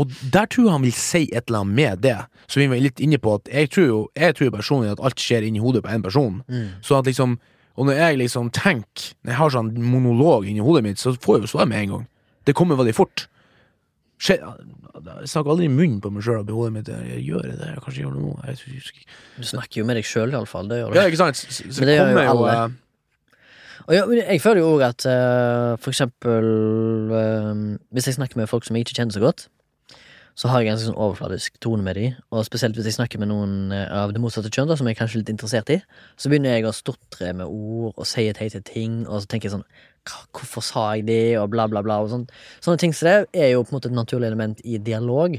Og der tror jeg han vil si et eller annet med det. Så vi var litt inne på at jeg tror jo Jeg tror jo personlig at alt skjer inni hodet på én person. Så at liksom Og når jeg liksom tenker Når jeg har sånn monolog inni hodet mitt, så får jeg jo svar med en gang. Det kommer veldig fort. Skje, jeg snakker aldri i munnen på meg sjøl og i hodet mitt. Jeg gjør det, jeg kanskje gjør det nå. Jeg husker ikke. Du snakker jo med deg sjøl, iallfall. Det gjør du. Ja, ikke sant? Så, så Men det gjør jo kommer jo alle. eh, Og ja, men jeg føler jo òg at eh, for eksempel eh, Hvis jeg snakker med folk som jeg ikke kjenner så godt, så har jeg ganske sånn overfladisk tone med de Og spesielt hvis jeg snakker med noen eh, av det motsatte kjønn, da, som jeg er kanskje litt interessert i, så begynner jeg å stotre med ord og si teite ting, og så tenker jeg sånn "Hva- Hvorfor sa jeg det, og bla, bla, bla, og sånn. Sånne ting som det er jo på en måte et naturlig element i dialog.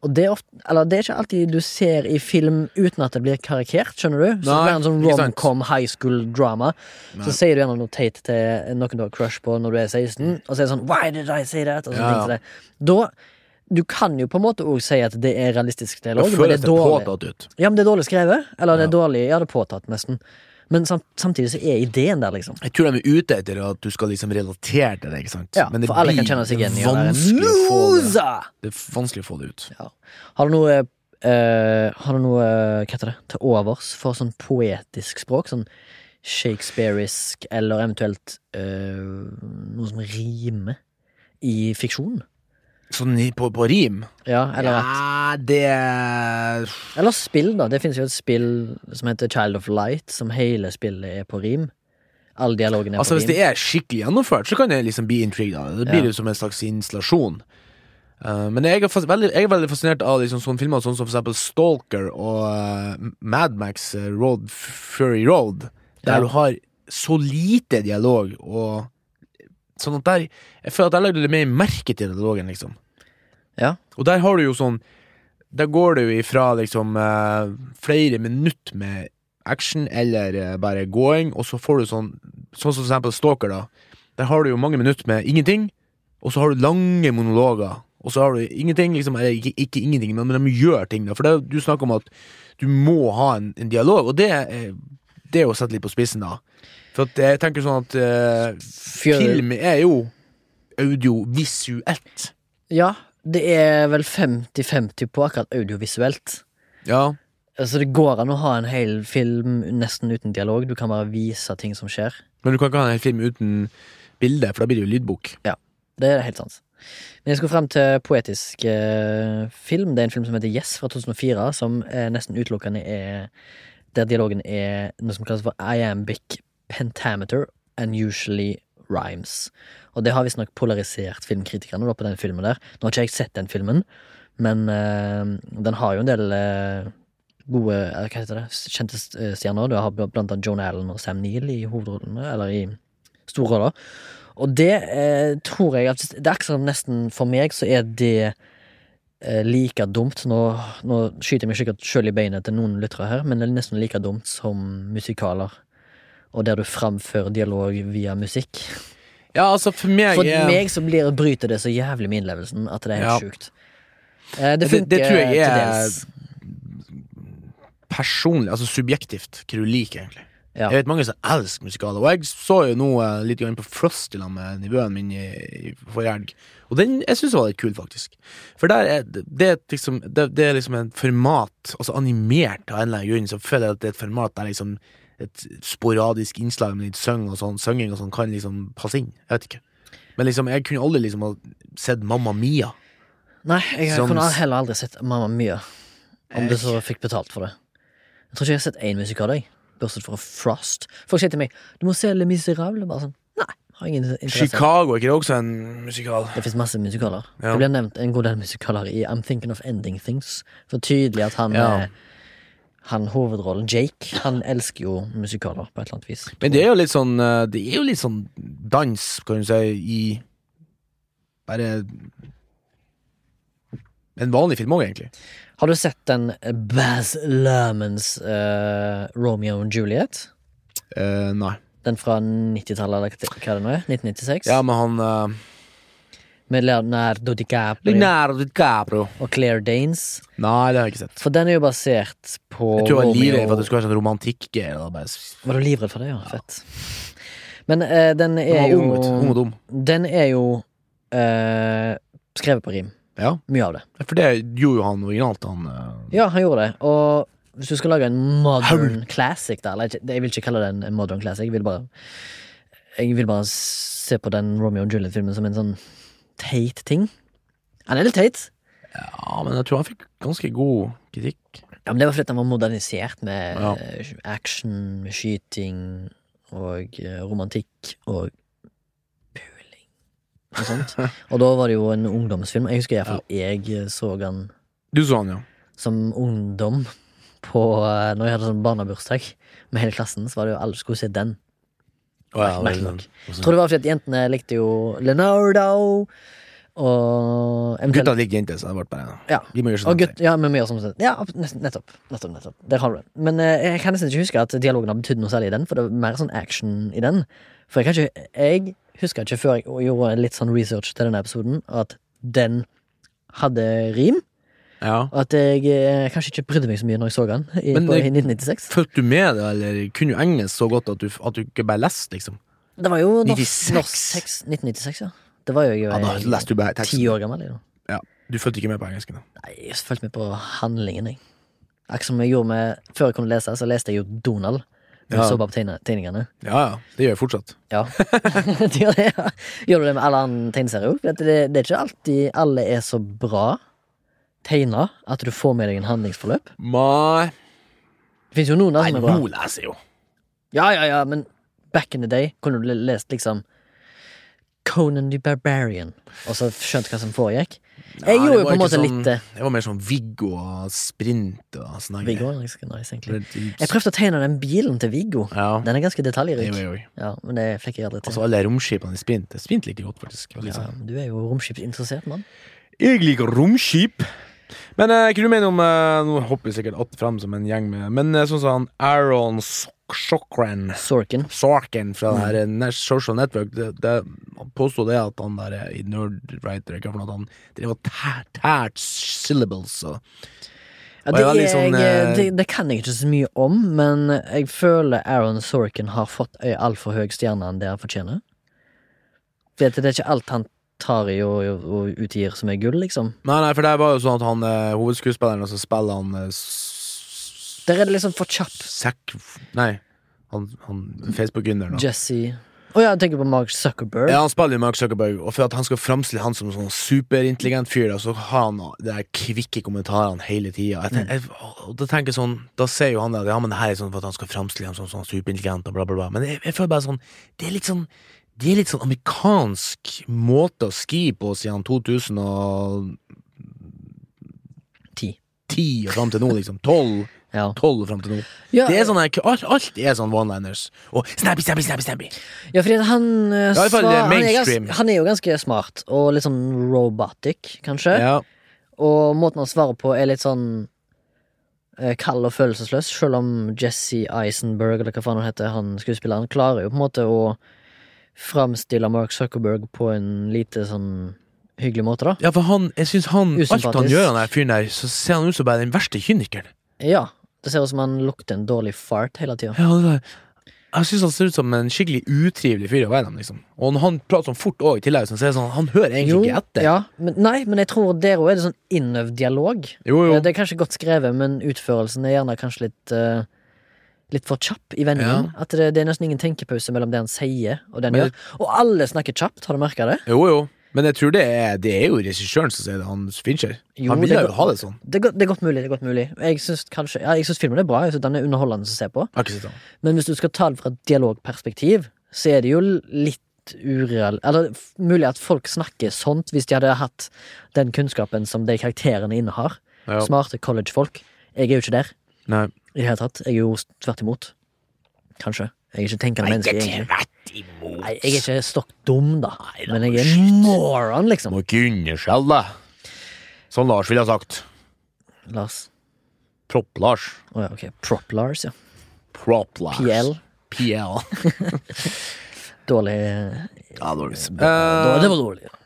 Og det er, ofte, eller det er ikke alltid du ser i film uten at det blir karikert, skjønner du? Så Nei, det er en sånn ikke sant. romcom high school drama. Nei. Så sier du gjerne noe teit til noen du har crush på når du er 16, og så er det sånn Why did I say that? Og sånne Mm. Ja, ting som det. Da Du kan jo på en måte òg si at det er realistisk dialog, Jeg men føler det er det dårlig. påtatt ut. Ja, men det er dårlig skrevet. Eller det Ja. er dårlig Ja, det er påtatt, nesten. Men sam samtidig så er ideen der, liksom. Jeg tror de er ute etter at du skal liksom relatere til det, ikke sant? Ja, Men det for alle kan blir kjenne seg igjen i å være en vanskelig å få det. loser! Det er vanskelig å få det ut. Har du noe eh, Har du noe eh, Hva heter det? Til overs for sånn poetisk språk? Sånn shakespearisk, eller eventuelt eh, noe som rimer i fiksjon? Sånn i- på, på rim? Ja, eller, at, ja, det eller spill, da. Det finnes jo et spill som heter Child of Light, som hele spillet er på rim. Alle dialogene er Altså Hvis på rim. det er skikkelig gjennomført, så kan jeg liksom bli intrigued av det. Det blir Ja. jo som en slags installasjon. Eh, men jeg er, fas veldig, jeg er veldig fascinert av liksom sånne filmer sånn som for eksempel Stalker og eh, Mad Max eh, Road Fury Road, der Ja. du har så lite dialog og Sånn at der Jeg føler at der legger du litt mer merke til dialogen, liksom. Ja. Og der har du jo sånn Der går det jo ifra liksom eh, flere minutt med action eller eh, bare going, og så får du sånn Sånn som for eksempel Stalker, da. Der har du jo mange minutter med ingenting, og så har du lange monologer. Og så har du ingenting, liksom, eller ikke, ikke ingenting, men men de gjør ting, da. For det, er jo- du snakker om at du må ha en, en dialog, og det er, det er jo satt litt på spissen, da. For at jeg tenker sånn at eh, Fjør- film er jo audiovisuelt. Ja, det er vel 50-50 på akkurat audiovisuelt. Ja. Så det går an å ha en hel film nesten uten dialog. Du kan bare vise ting som skjer. Men du kan ikke ha en hel film uten bilde, for da blir det jo lydbok. Det er helt sant. Men jeg skulle frem til poetisk eh, film. Det er en film som heter Yes fra 2004, som eh, nesten utelukkende er Der dialogen er noe som kalles for iambic pentameter and usually rhymes. Og det har visstnok polarisert filmkritikerne da, på den filmen der. Nå har ikke jeg sett den filmen, men eh, den har jo en del eh, gode eh, Hva heter det? Kjente eh, stjerner. Du har blant annet Joan Allen og Sam Neill i hovedrollene, eller i storroller. Og det eh, tror jeg at Det er ikke sånn nesten for meg så er det eh, like dumt Nå, nå skyter jeg meg sikkert sjøl i beinet til noen lyttere her, men det er nesten like dumt som musikaler. Og der du framfører dialog via musikk. Ja, altså, for meg For er- meg så blir, bryter det så jævlig med innlevelsen at det er helt Ja. sjukt. Eh, det Det- det funker tror jeg er- til dels. personlig, altså subjektivt, hva du liker, egentlig. Ja. Jeg vet mange som elsker musikaler, og jeg så jo nå eh, litt grann på Frost i lag med nivåen min i, i forrige helg, og den jeg syns var litt kul, faktisk. For der er det, det er liksom det, det er liksom en format, altså animert av en eller annen grunn, så føler jeg at det er et format der liksom et sporadisk innslag med litt søng og sånn, sønging og sånn kan liksom passe inn. Jeg vet ikke. Men liksom, jeg kunne aldri liksom ha sett Mamma Mia. Nei, jeg Som- kunne heller aldri sett Mamma Mia. Om du Jeg- så fikk betalt for det. Jeg tror ikke jeg har sett én musikal, jeg. Bortsett fra Frost. Folk sier til meg 'Du må se Le Miserable'. Bare sånn. Nei, har ingen interesse. Chicago, er ikke det også en musikal? det fins masse musikaler. Ja. Det blir nevnt en god del musikaler i I'm Thinking of Ending Things. For tydelig at han Ja. eh, Han hovedrollen, Jake, han elsker jo musikaler på et eller annet vis. Men det er jo litt sånn eh, Det er jo litt sånn dans, kan du si, i Bare En vanlig film òg, egentlig. Har du sett den eh, Baz Lermans eh, Romeo and Juliet? Eh, nei. Den fra 90-tallet, eller hva det nå er? 1996? Ja, men han uh, Med Leonardo DiCaprio Leonardo DiCaprio. og Claire Danes. Nei, det har jeg ikke sett. For den er jo basert på Jeg tror jeg var Romeo- livredd for at det skulle være sånn romantikk-greie. da, bare s- Var du livredd for det, ja? Fett. Men eh, den Han er var jo ung, vet du. Ung og dum. Den er jo eh, skrevet på rim. Ja, Mye av det. for det gjorde jo han originalt, han eh, Ja, han gjorde det. Og hvis du skal lage en modern classic da, eller ikke- Jeg vil ikke kalle det en- en modern classic. Jeg vil bare, jeg vil bare se på den Romeo og Juliet-filmen som en sånn teit ting. Han er litt teit. Ja, men jeg tror han fikk ganske god kritikk. Ja, men Det var fordi den var modernisert med Ja. eh, action, med skyting og eh, romantikk og puling. og sånt. Og da var det jo en ungdomsfilm. Jeg husker iallfall jeg så den Du så han, ja. som ungdom på eh, Når jeg hadde sånn barnebursdag med hele klassen, så var det jo alle skulle se den. Å, ja sånn. Merkelig vel, nok. også- Jeg tror det var fordi at jentene likte jo Leonardo og eventuelt Gutta liker jenter, så det ble bare Ja. De må gjøre sånn. Og gutt, ja, men mye som sånn. Ja, ab- nett- nettopp. Nettopp, nettopp. Der har du den. Men eh, jeg kan nesten ikke huske at dialogen har betydd noe særlig i den, for det var mer sånn action i den. For jeg kan ikke Jeg husker ikke før jeg gjorde litt sånn research til denne episoden, at den hadde rim, Ja. og at jeg eh, kanskje ikke brydde meg så mye når jeg så den i, Men på, det- i 1996. Følte du med det, eller kunne du engelsk så godt at du, at du ikke bare leste, liksom? Det var jo norsk, 96. norsk tekst 1996, ja. Det var jo jeg Ja, da leste du bare teksten. ti år gammel. Jeg, da. Ja. Du fulgte ikke med på engelsken? da. Nei, jeg fulgte med på handlingen, jeg. Akkurat som jeg gjorde med Før jeg kunne lese, så leste jeg jo Donald. Men Ja. så bare på tegne- tegningene. Ja, ja. Det gjør jeg fortsatt. Ja. det gjør, det, ja. gjør du det med alle andre tegneserier òg? Det, det er ikke alltid alle er så bra tegna at du får med deg en handlingsforløp. Nei, Det fins jo noen der Nei som er bra. nå leser jeg jo. Ja, ja, ja, men back in the day kunne du le- lest liksom Conan the Barbarian, og så skjønt hva som foregikk. Jeg Ja, det gjorde jo var på en ikke måte sånn- litt eh, det. Det var mer sånn Viggo og sprint og sånne Viggo er ganske nice, egentlig. greier. Jeg prøvde å tegne den bilen til Viggo. Ja, Den er ganske det detaljrik. gjorde jeg òg. Ja, men det fikk jeg aldri til. Altså alle romskipene i sprint. Sprint liker jeg godt, faktisk. Og litt Ja, sånn. men du er jo romskipsinteressert, mann. Jeg liker romskip. Men eh, hva du mener om eh, Nå hopper vi sikkert att fram som en gjeng med Men eh, sånn som han Aaron Sok- Sokran Sorkin. Sarkin fra det her Nash Social Network det, det, Han påstod det at han der eh, i Nerdwriter ikke for noe, at han drev og tær- tært syllables og Ja, Og det, jeg var litt er sånn, jeg, eh, det, det kan jeg ikke så mye om, men jeg føler Aaron Sorkin har fått ei altfor høy stjerne enn det han fortjener. For det er ikke alt han tar i og, og, og utgir som er gull, liksom. Nei, nei, for det var jo sånn at han eh, hovedskuespilleren som spiller han eh, s- Der er det liksom for kjapt. Zack Nei, han, han Facebook-gründeren. da. Jesse Å ja, jeg tenker på Mark Zuckerberg. Ja, han spiller jo Mark Zuckerberg, og for at han skal framstille han som en sånn superintelligent fyr, da, så har han de der kvikke kommentarene hele tida. Jeg, tenk- jeg, og da tenker jeg sånn, da ser jo han at ja, men det her er sånn for at han skal framstille ham som sånn superintelligent og bla, bla, bla. Men jeg, jeg føler bare sånn, det er litt sånn det er litt sånn amerikansk måte å ski på siden 2010 Ti. og fram til nå, liksom. 12, Ja. 12 og fram til nå. Ja, Det er sånn, her- alt, alt er sånn one-liners. Og snappy, snappy, snappy, snappy. ja, fordi at han eh, sånn- Ja, i fall, svar- eh, han, er mainstream. gans, han er jo ganske smart, og litt sånn robotic, kanskje. Ja. Og måten han svarer på er litt sånn eh, kald og følelsesløs, selv om Jesse Eisenberg, eller hva faen han heter, han skuespilleren, klarer jo på en måte å framstille Mark Zuckerberg på en lite sånn hyggelig måte, da. Ja, for han, jeg synes han Alt han Usympatisk. gjør, han der fyren der, så ser han ut som bare den verste kynikeren. Ja. Det ser ut som han lukter en dårlig fart hele tida. Ja, det der. Jeg synes han ser ut som en skikkelig utrivelig fyr å være dem, liksom. Og når han prater sånn fort òg, i tillegg, så ser jeg sånn, han hører egentlig ikke etter. ja, men, nei, men jeg tror der òg er det sånn innøvd dialog. Jo, jo. Eh, Det er kanskje godt skrevet, men utførelsen er gjerne kanskje litt eh, Litt for kjapp i vendingen. At det, det er nesten ingen tenkepause mellom det han sier og det han Men- gjør. Og alle snakker kjapt, har du merka det? Jo, jo. Men jeg tror det er, det er jo regissøren som sier det, han Fincher. Jo, han det ville er jo godt- ha det sånn. Det er, godt, det er godt mulig. det er godt mulig Jeg syns, kanskje, ja, jeg syns filmen er bra, jeg syns den er underholdende å se på. Jeg har ikke sett han. Men hvis du skal ta det fra et dialogperspektiv, så er det jo litt ureal... Eller f- mulig at folk snakker sånt hvis de hadde hatt den kunnskapen som de karakterene innehar. Ja. Smarte collegefolk. Jeg er jo ikke der Nei. i det hele tatt. Jeg er jo tvert imot. Kanskje. Jeg er ikke et tenkende menneske, egentlig. tvert imot. Nei, jeg er ikke stokk dum, da. da, Men jeg er shit. en moron, liksom. Må ikke underskjelle. Som Lars ville ha sagt. Lars. Propp-Lars. Å ja, ok. Prop-Lars, ja. Propp-Lars. PL. PL. Dårlig ja, dårlig. Da- Det var dårlig. ja.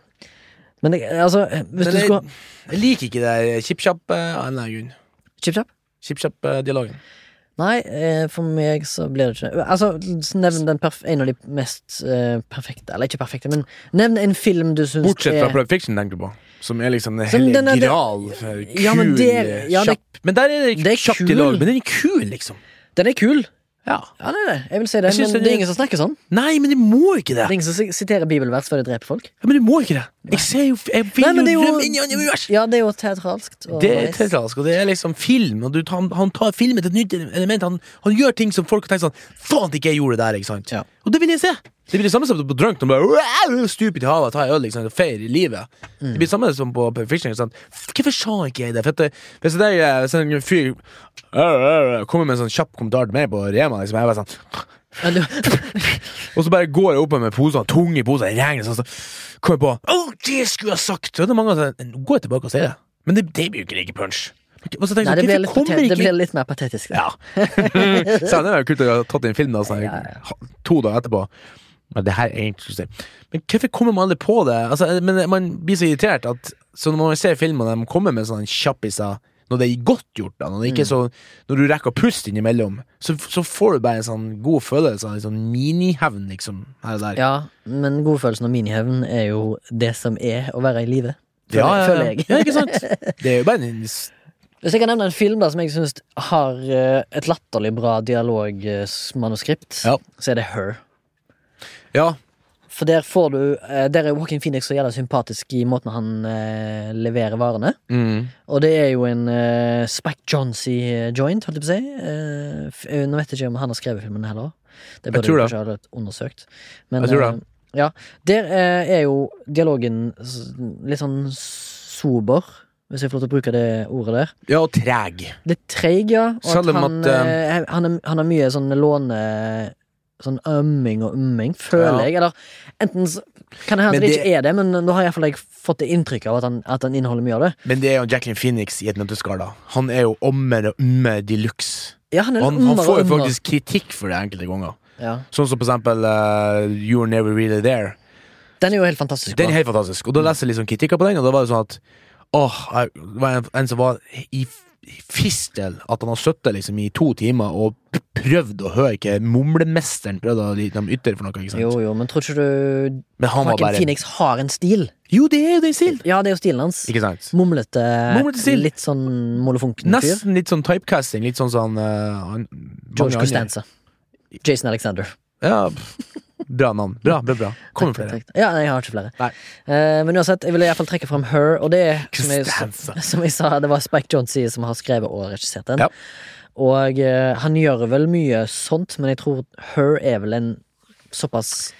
Men det, altså, hvis Men du jeg, skulle jeg liker ikke det der chipchap eh, av en eller annen grunn. Chipchap? Chipchap-dialogen. Nei, eh, for meg så blir det ikke Altså, Nevn den perf en av de mest eh, perfekte Eller ikke perfekte, men nevn en film du syns Bortsett fra er Plug Fiction, tenker du på. Som er liksom den Som hellige den er- det- gral, eh, kul, Ja, men det- ja, det- kjapp. Men der er det, det er kjapp kul. dialog, men den er kul, liksom. Den er kul! Ja. Ja, det er det. Jeg vil si det, Jeg synes men den det er- er ingen som snakker sånn. Nei, men det må ikke Det det! er ingen som si- siterer bibelvers før de dreper folk. Ja, men det må ikke det! Jeg ser jo Jeg vil Nei, men det er jo jo- rømme inn i andre univers! Ja, det er jo teatralskt. Og Det er nice. teatralsk, og det er liksom film. Og du, tar- han, han tar filmen til et nytt element. Han, han gjør ting som folk tenker sånn Faen at ikke jeg gjorde det der, ikke sant? Ja. Og det vil jeg se! Det blir det samme som på Drunk. De bare stuper til havet, tar en øl liksom, og feirer livet. Mm. Det blir det samme som på Perfection. ikke sant? Hvorfor sa ikke jeg det? For at det, hvis det er eh, hvis en fyr øh, øh, kommer med en sånn kjapp kommentar til meg på Rema, liksom, jeg bare sånn Ja, du, og så bare går jeg opp med posene, tunge poser, det regner sånn, så kommer jeg på Åh, det skulle jeg ha sagt! Og det er mange som sier, Nå går jeg tilbake og sier det. Men det, det blir jo ikke like punch. Og så tenker nei, det jeg, hvorfor blir, litt kommer pate- det ikke blir litt mer patetisk. da. Ja. så det er jo kult å ha tatt inn film da, sånn, ha- to dager etterpå. Men det her er egentlig skulle jeg si. Men hvorfor kommer man aldri på det? Altså, men Man blir så irritert at så når man ser filmer de kommer med sånne kjappiser når det er godt gjort, da, når, det ikke er så, når du rekker å puste innimellom, så, så får du bare en sånn god følelse av en sånn minihevn, liksom, her og der. Ja, men godfølelsen av minihevn er jo det som er å være i live. Føler, Ja, ja, ja. føler jeg. ja, ikke sant? Det er jo bare en s- Hvis jeg kan nevne en film da som jeg syns har eh, et latterlig bra dialogmanuskript, Ja. så er det Her. Ja. For der får du eh, Der er Joaquin Phoenix så jævla sympatisk i måten han eh, leverer varene. Mm. Og det er jo en uh, Spack Johnsy joint, holdt jeg på å si. Eh, f- eh, nå vet jeg ikke om han har skrevet filmen heller. Det burde tror jeg det. kanskje ha litt undersøkt. Men, Jeg tror det. eh, ja, der eh, er jo dialogen s- litt sånn sober, hvis jeg får lov til å bruke det ordet der. ja, og treg. Litt treig, ja. Og at Selv om han, at, eh, han, er, han har mye sånn låne... Sånn ømming og ømming, føler Ja. jeg. Eller enten så kan det hende Men det det- ikke er det, men nå har iallfall jeg fått det inntrykket av at han, at han inneholder mye av det. Men det er jo Jacqueline Phoenix i et nøtteskall, da. Han er jo ommer og umme de luxe. Ja, han er Og litt Han, han ummere får jo og ummere. faktisk kritikk for det enkelte ganger. Ja. Sånn som for eksempel eh, You're Never Really There. Den er jo helt fantastisk. Den bra. er helt fantastisk. Og da leser jeg liksom kritikker på den, og da var det sånn at Åh, jeg- det var en, en som var i f- i fistel at han har sittet liksom i to timer og p- prøvd å høre ikke mumlemesteren prøvde å liksom, ytre for noe, ikke sant? Jo, jo, men tror ikke du Men han var Joaquin bare Phoenix har en stil? Jo, det er jo det i stil! Ja, det er jo stilen hans. Ikke sant? Mumlete, Mumlete stil. litt sånn molefonken fyr. Nesten litt sånn typecasting, litt sånn sånn eh, han- mange George andre- Costanza. Jason Alexander. Ja, bra navn. Bra, bra, bra. Kommer Takk, flere. takk, takk. Ja, nei, jeg har ikke flere. Nei. Eh, men uansett, jeg vil i hvert fall trekke fram Her, og det er som jeg, Costanza. som jeg sa, det var Spike Johnsey som har skrevet og regissert den. Ja. Og eh, han gjør vel mye sånt, men jeg tror Her er vel en såpass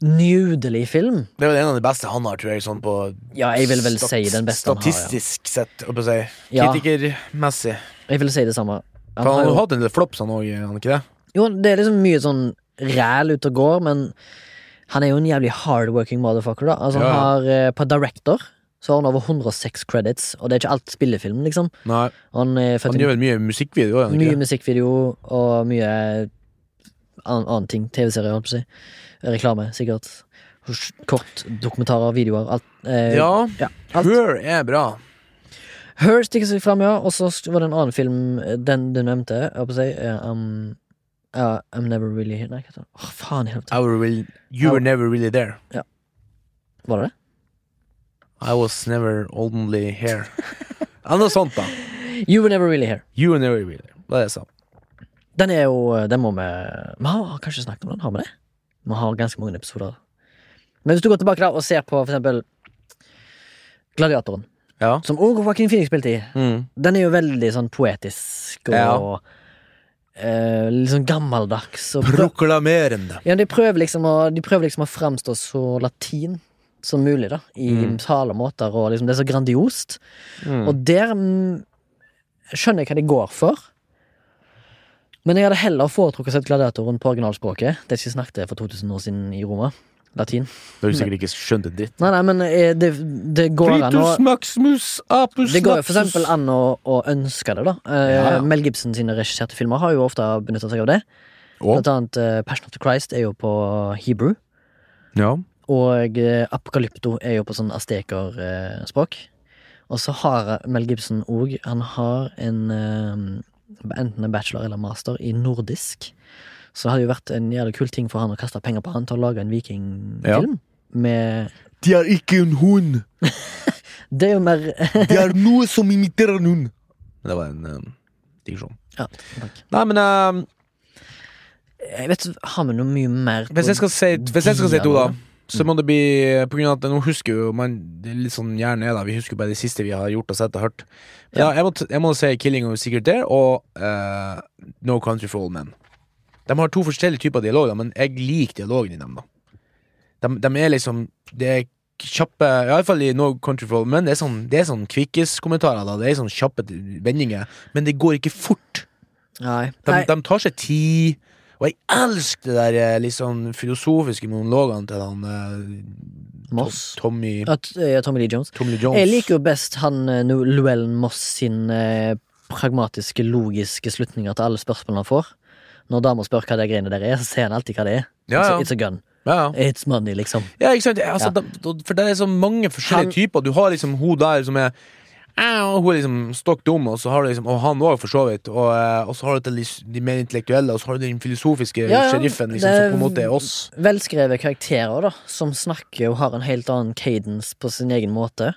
nydelig film. Det er vel en av de beste han har, tror jeg. Sånn på Ja, jeg vil vel stat- si den beste han har. Ja. Statistisk sett, holdt på å si. Ja. Kritikermessig. Jeg vil si det samme. For Han han har har jo, jo hatt en del flops, han òg, han ikke det? jo, det er liksom mye sånn ræl ute og går, men han er jo en jævlig hardworking motherfucker, da. Altså, Ja, ja. han har, eh, på director så har han over 106 credits, og det er ikke alt spillefilm, liksom. Nei. Han er født Han i gjør vel mye musikkvideo òg, mye ikke det? musikkvideo og mye annen, annen ting. TV-serier, holdt på å si. Reklame, sikkert. Kort, dokumentarer, videoer, alt. Eh, Ja. alt. Her er bra. Her stikker seg fram, ja. Og så var det en annen film, eh, den du nevnte. Jeg holdt på å si, eh, um, ja, I'm Never Really Here. Nei, hva heter den? Åh, faen i helvete. I were real- you were never really there. Var det det? I was never only here. Ja, Noe sånt, da. You Were Never Really Here. You were never really there. Hva er det jeg sa? Den er jo eh, Den må vi Vi har har kanskje snakket om den? Har vi det? Vi har ganske mange episoder. Men hvis du går tilbake da og ser på for eksempel Gladiatoren, Ja. som også Joaquin Phoenix spilte i, Mm. den er jo veldig sånn poetisk og Ja. eh, litt sånn gammeldags. Og Proklamerende. Ja, de prøver liksom å, de prøver liksom å fremstå så latin som mulig, da. I Mm. talemåter, og liksom det er så grandiost. Mm. Og der mm, skjønner jeg hva de går for. Men jeg hadde heller foretrukket å sett gladiatoren på originalspråket. Det de snakket for 2000 år siden i Roma. Latin. Du har jo sikkert ikke skjønt en dritt. Nei, nei, men eh, det, det går an å Maximus apus det går jo for eksempel an å, å ønske det, da. Eh, Ja, ja. Mel Gibson sine regisserte filmer har jo ofte benytta seg av det. Å, Blant annet eh, Passion of the Christ er jo på hebrew. ja. Og eh, Apokalypto er jo på sånn astekerspråk. Og så har eh, Mel Gibson òg Han har en eh, enten en bachelor eller master i nordisk. Så det hadde jo vært en jævlig kul ting for han å kaste penger på han til å lage en vikingfilm. Med De er ikke en hund! Det er jo mer Det er noe som imiterer noen. Det var en eh, digresjon. Ja, takk. Nei, men eh, Jeg vet, har vi noe mye mer på- hvis jeg skal si, hvis jeg skal si to, da, så må det bli på grunn av at nå husker jo man, det er litt sånn hjernen er da, Vi husker jo bare det siste vi har gjort og sett og hørt. Men Ja, jeg, må, t- jeg må si 'Killing of a Secret Dare' og eh, 'No Country for Old Men'. De har to forskjellige typer dialoger, men jeg liker dialogen i dem, da. De, de er liksom Det er kjappe Iallfall i No Country for Old Men. Det er sånn, det er sånn kvikkis-kommentarer, da. Det er sånn kjappe vendinger. Men det går ikke fort. Nei. De, Nei. de tar seg tid. Og jeg elsker det der eh, litt sånn filosofiske monologene til han eh, Moss? Tom- Tommy At, eh, Tommy Lee Jones. Tommy Lee Jones. Jeg liker jo best han eh, Nu- Llewellyn Moss sin eh, pragmatiske, logiske slutninger til alle spørsmålene han får. Når damer spør hva det greiene der er, så sier han alltid hva det er. Ja, ja. It's, a, it's a gun. ja, ja. It's money, liksom. Ja, ikke sant? Altså, Ja. da- da- for det er så mange forskjellige Han- typer. Du har liksom hun der som er «Au», hun er liksom stokk dum, og, så har du liksom, og han òg, for så vidt. Og, eh, og så har du til de, de mer intellektuelle, og så har du den filosofiske Ja, ja, sheriffen, liksom, som det- på en måte er oss. Velskrevet karakterer, da, som snakker og har en helt annen cadence på sin egen måte.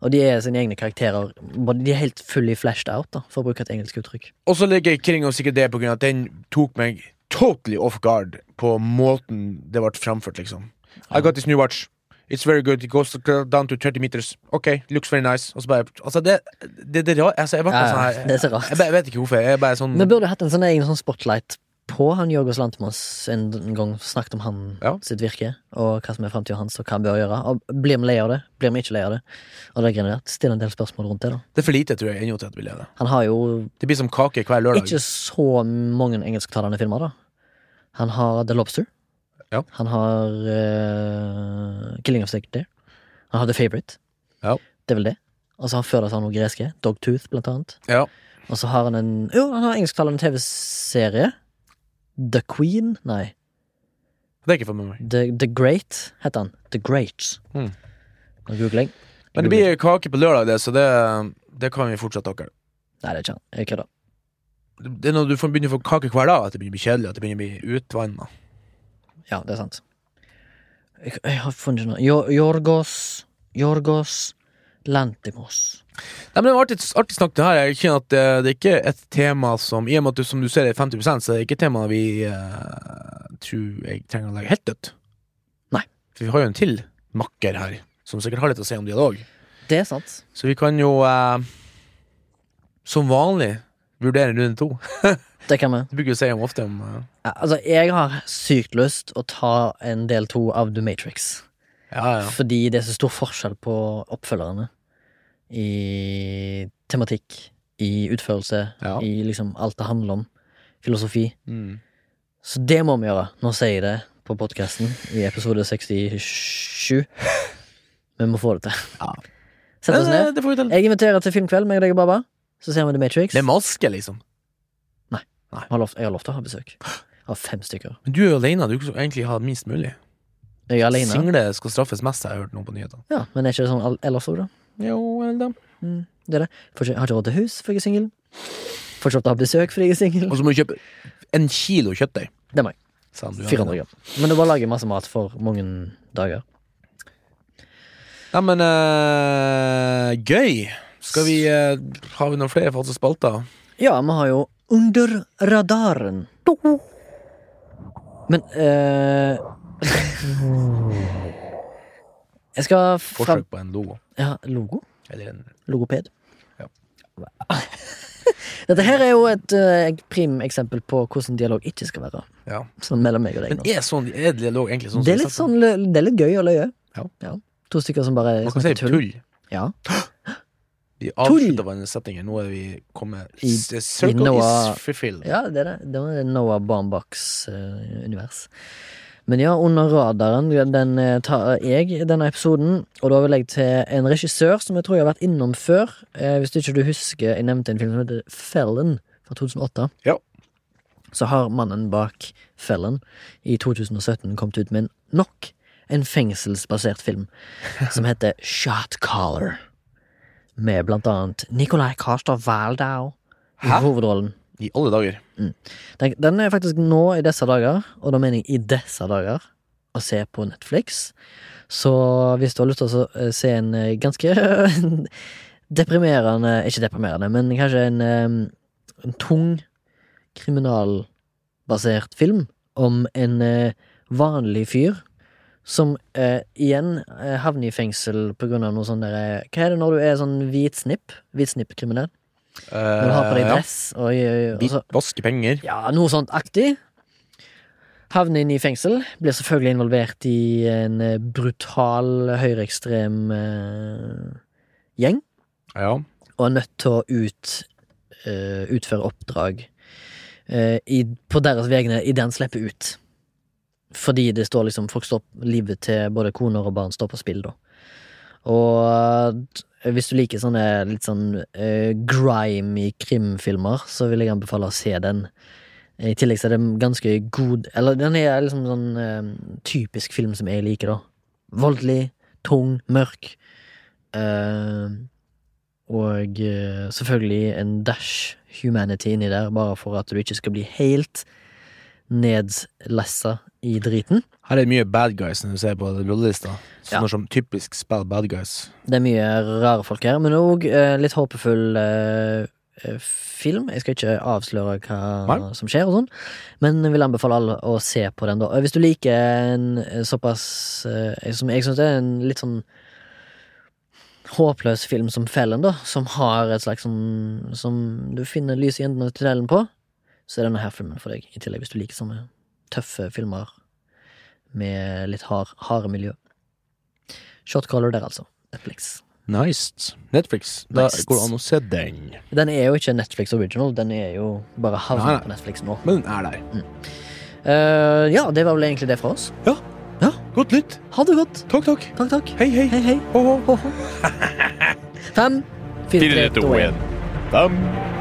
Og de er sine egne karakterer. Bare De er helt fully flashed out, da, for å bruke et engelsk uttrykk. Og så liker jeg Kring og sikkert det på grunn av at den tok meg totally off guard på måten det ble framført, liksom. I got this new watch. It's very good. It goes down to 30 meters. Ok, looks very nice. Og så bare Altså, det, det, det, er rart. altså, jeg, ble Ja, ikke ja, sånn her, det er så jeg, rart. bare- jeg vet ikke hvorfor. Jeg er bare sånn Vi burde hatt en sånn egen sånn spotlight på han Jorgos Lantimos en gang. Snakket om han Ja. sitt virke, og hva som er fremtiden hans, og hva han bør gjøre. Og blir vi lei av det? Blir vi ikke lei av det? Og det greiene der. Still en del spørsmål rundt det, da. Det er for lite, tror jeg, ennå til at vi lever. Han har jo Det blir som kake hver lørdag. ikke så mange engelsktalende filmer, da. Han har The Lobster. Ja. Han har eh, Killing of a Sacred Deer. Han har The Favourite. Ja. Det er vel det. Og så har han før det så har han noe greske. Dogtooth, blant annet. Ja. Og så har han en Jo, han har engelsktalende TV-serie. The Queen? Nei. Det er ikke for meg. The, The Great heter han. The Great. Mm. Nå googler jeg. Men det blir kake på lørdag, det, så det, det kan vi fortsette dere. Nei, det er ikke han. Jeg kødder. Det er når du får- begynner å få kake hver dag, at det begynner å bli kjedelig, at det begynner å bli utvanna. Ja, det er sant. Jeg, jeg har funnet noe Jo- Jorgos Jorgos Lantimos. Nei, men det var artig, artig snakk, det her. Jeg kjenner at det, det er ikke et tema som I og med at du, som du ser, er 50 så det er ikke et tema vi eh, tror jeg trenger å legge helt dødt. Nei. For vi har jo en til makker her, som sikkert har litt å si om dialog. Det er sant. Så vi kan jo, eh, som vanlig, vurdere runde to. Det kan vi. Det bruker vi å si om ofte om eh, Ja, Altså, jeg har sykt lyst å ta en del to av The Matrix. Ja, ja. Fordi det er så stor forskjell på oppfølgerne i tematikk, i utførelse, Ja. i liksom alt det handler om. Filosofi. Mm. Så det må vi gjøre. Nå sier jeg det på podkasten i episode 67. Vi må få det til. Ja. Sett oss Nei, nei, ned. eh, Det får vi til. Jeg inviterer til filmkveld med deg og Baba. Så ser vi The Matrix. Det er maske, liksom. Jeg har lov, jeg har lov til å ha besøk. Av fem stykker. Men du er jo alene. Du skal egentlig ha minst mulig. Jeg er alene. Single skal straffes mest, har jeg hørt noe på nyhetene. Ja, men er ikke det sånn all- ellers òg, da? Jo, vel da. Mm, det er det. Får ikke, har ikke råd til hus, for jeg er singel. Får ikke råd til å ha besøk, fordi jeg er singel. Og så må du kjøpe en kilo kjøttdeig. Det må jeg. sa han Sånn, du hadde. 400 gram. Men du bare lager masse mat for mange dager. Nei, men eh, gøy. Skal vi eh, Har vi noen flere faste spalter? Ja, vi har jo Under radaren. Men eh, Jeg skal fram... Forsøk på en logo. Ja, logo? Eller en Logoped. Ja. Dette her er jo et eh, primeksempel på hvordan dialog ikke skal være. Ja. Sånn mellom meg og deg. Men nå. er sånn er dialog egentlig sånn? som det er litt snakker? sånn lø- Det er litt gøy å løye. Ja. To stykker som bare Man kan si snakker tull. tull. Ja. Vi avslutter på en setning. her. Nå er vi kommet I- s- eh, Circle Noah- is fulfilled. ja, det er det. Det var det Noah Barmbachs-univers. Men ja, under radaren den eh, tar jeg i denne episoden. Og da vil jeg til en regissør som jeg tror jeg har vært innom før. Eh, hvis ikke du husker, jeg nevnte en film som heter Fellen fra 2008. Ja. Så har mannen bak Fellen i 2017 kommet ut med en nok en fengselsbasert film som heter Shot Caller. Med blant annet Nicolai Karstad Waldau i Hæ? hovedrollen. I alle dager. Den, den er faktisk nå i disse dager, og da mener jeg i disse dager, å se på Netflix. Så hvis du har lyst til å eh, se en eh, ganske deprimerende Ikke deprimerende, men kanskje en, eh, en tung kriminalbasert film om en eh, vanlig fyr som eh, igjen eh, havner i fengsel på grunn av noe sånn derre Hva er det når du er sånn hvit snipp? Hvit snipp-kriminell? Når du har på Eh, deg altså. ja. dress og, og, og, og så Vaske penger. ja, noe sånt aktig. Havner inn i fengsel, blir selvfølgelig involvert i en eh, brutal høyreekstrem eh, gjeng. Ja. og er nødt til å ut, eh, utføre oppdrag eh, i, på deres vegne idet han slipper ut. Fordi det står liksom folk står, livet til både koner og barn står på spill, da. Og eh, hvis du liker sånne litt sånn eh, grime i krimfilmer, så vil jeg anbefale å se den. I tillegg så er den ganske god Eller den er liksom sånn eh, typisk film som jeg liker, da. Voldelig, tung, mørk. Eh, og eh, selvfølgelig en dash humanity inni der, bare for at du ikke skal bli helt nedlessa i driten. Her er det mye bad guys når du ser på rollelista. Ja. Sånne som typisk spiller bad guys. Det er mye rare folk her, men òg litt håpefull eh, eh, film. Jeg skal ikke avsløre hva Nei. som skjer, og sånn, men jeg vil anbefale alle å se på den. da Og Hvis du liker en eh, såpass eh, Som jeg syns er en litt sånn håpløs film som Fellen, da, som har et slags sånn Som du finner lys i enden av tunnelen på, så er denne her filmen for deg. I tillegg hvis du liker sånne tøffe filmer med litt hard, harde miljø. Shotcaller der, altså. Netflix. Nice. Netflix. Da Nice. går det an å se den. Den er jo ikke Netflix original, den er jo bare Nei, nei. havnet på Netflix nå. Men den er der. Eh, ja, det var vel egentlig det fra oss. Godt nytt. Ha det godt. Takk, takk. Takk, takk. Hei, hei. Hei, hei. Ho, ho. Fem, fire, tre, to, én. Dam.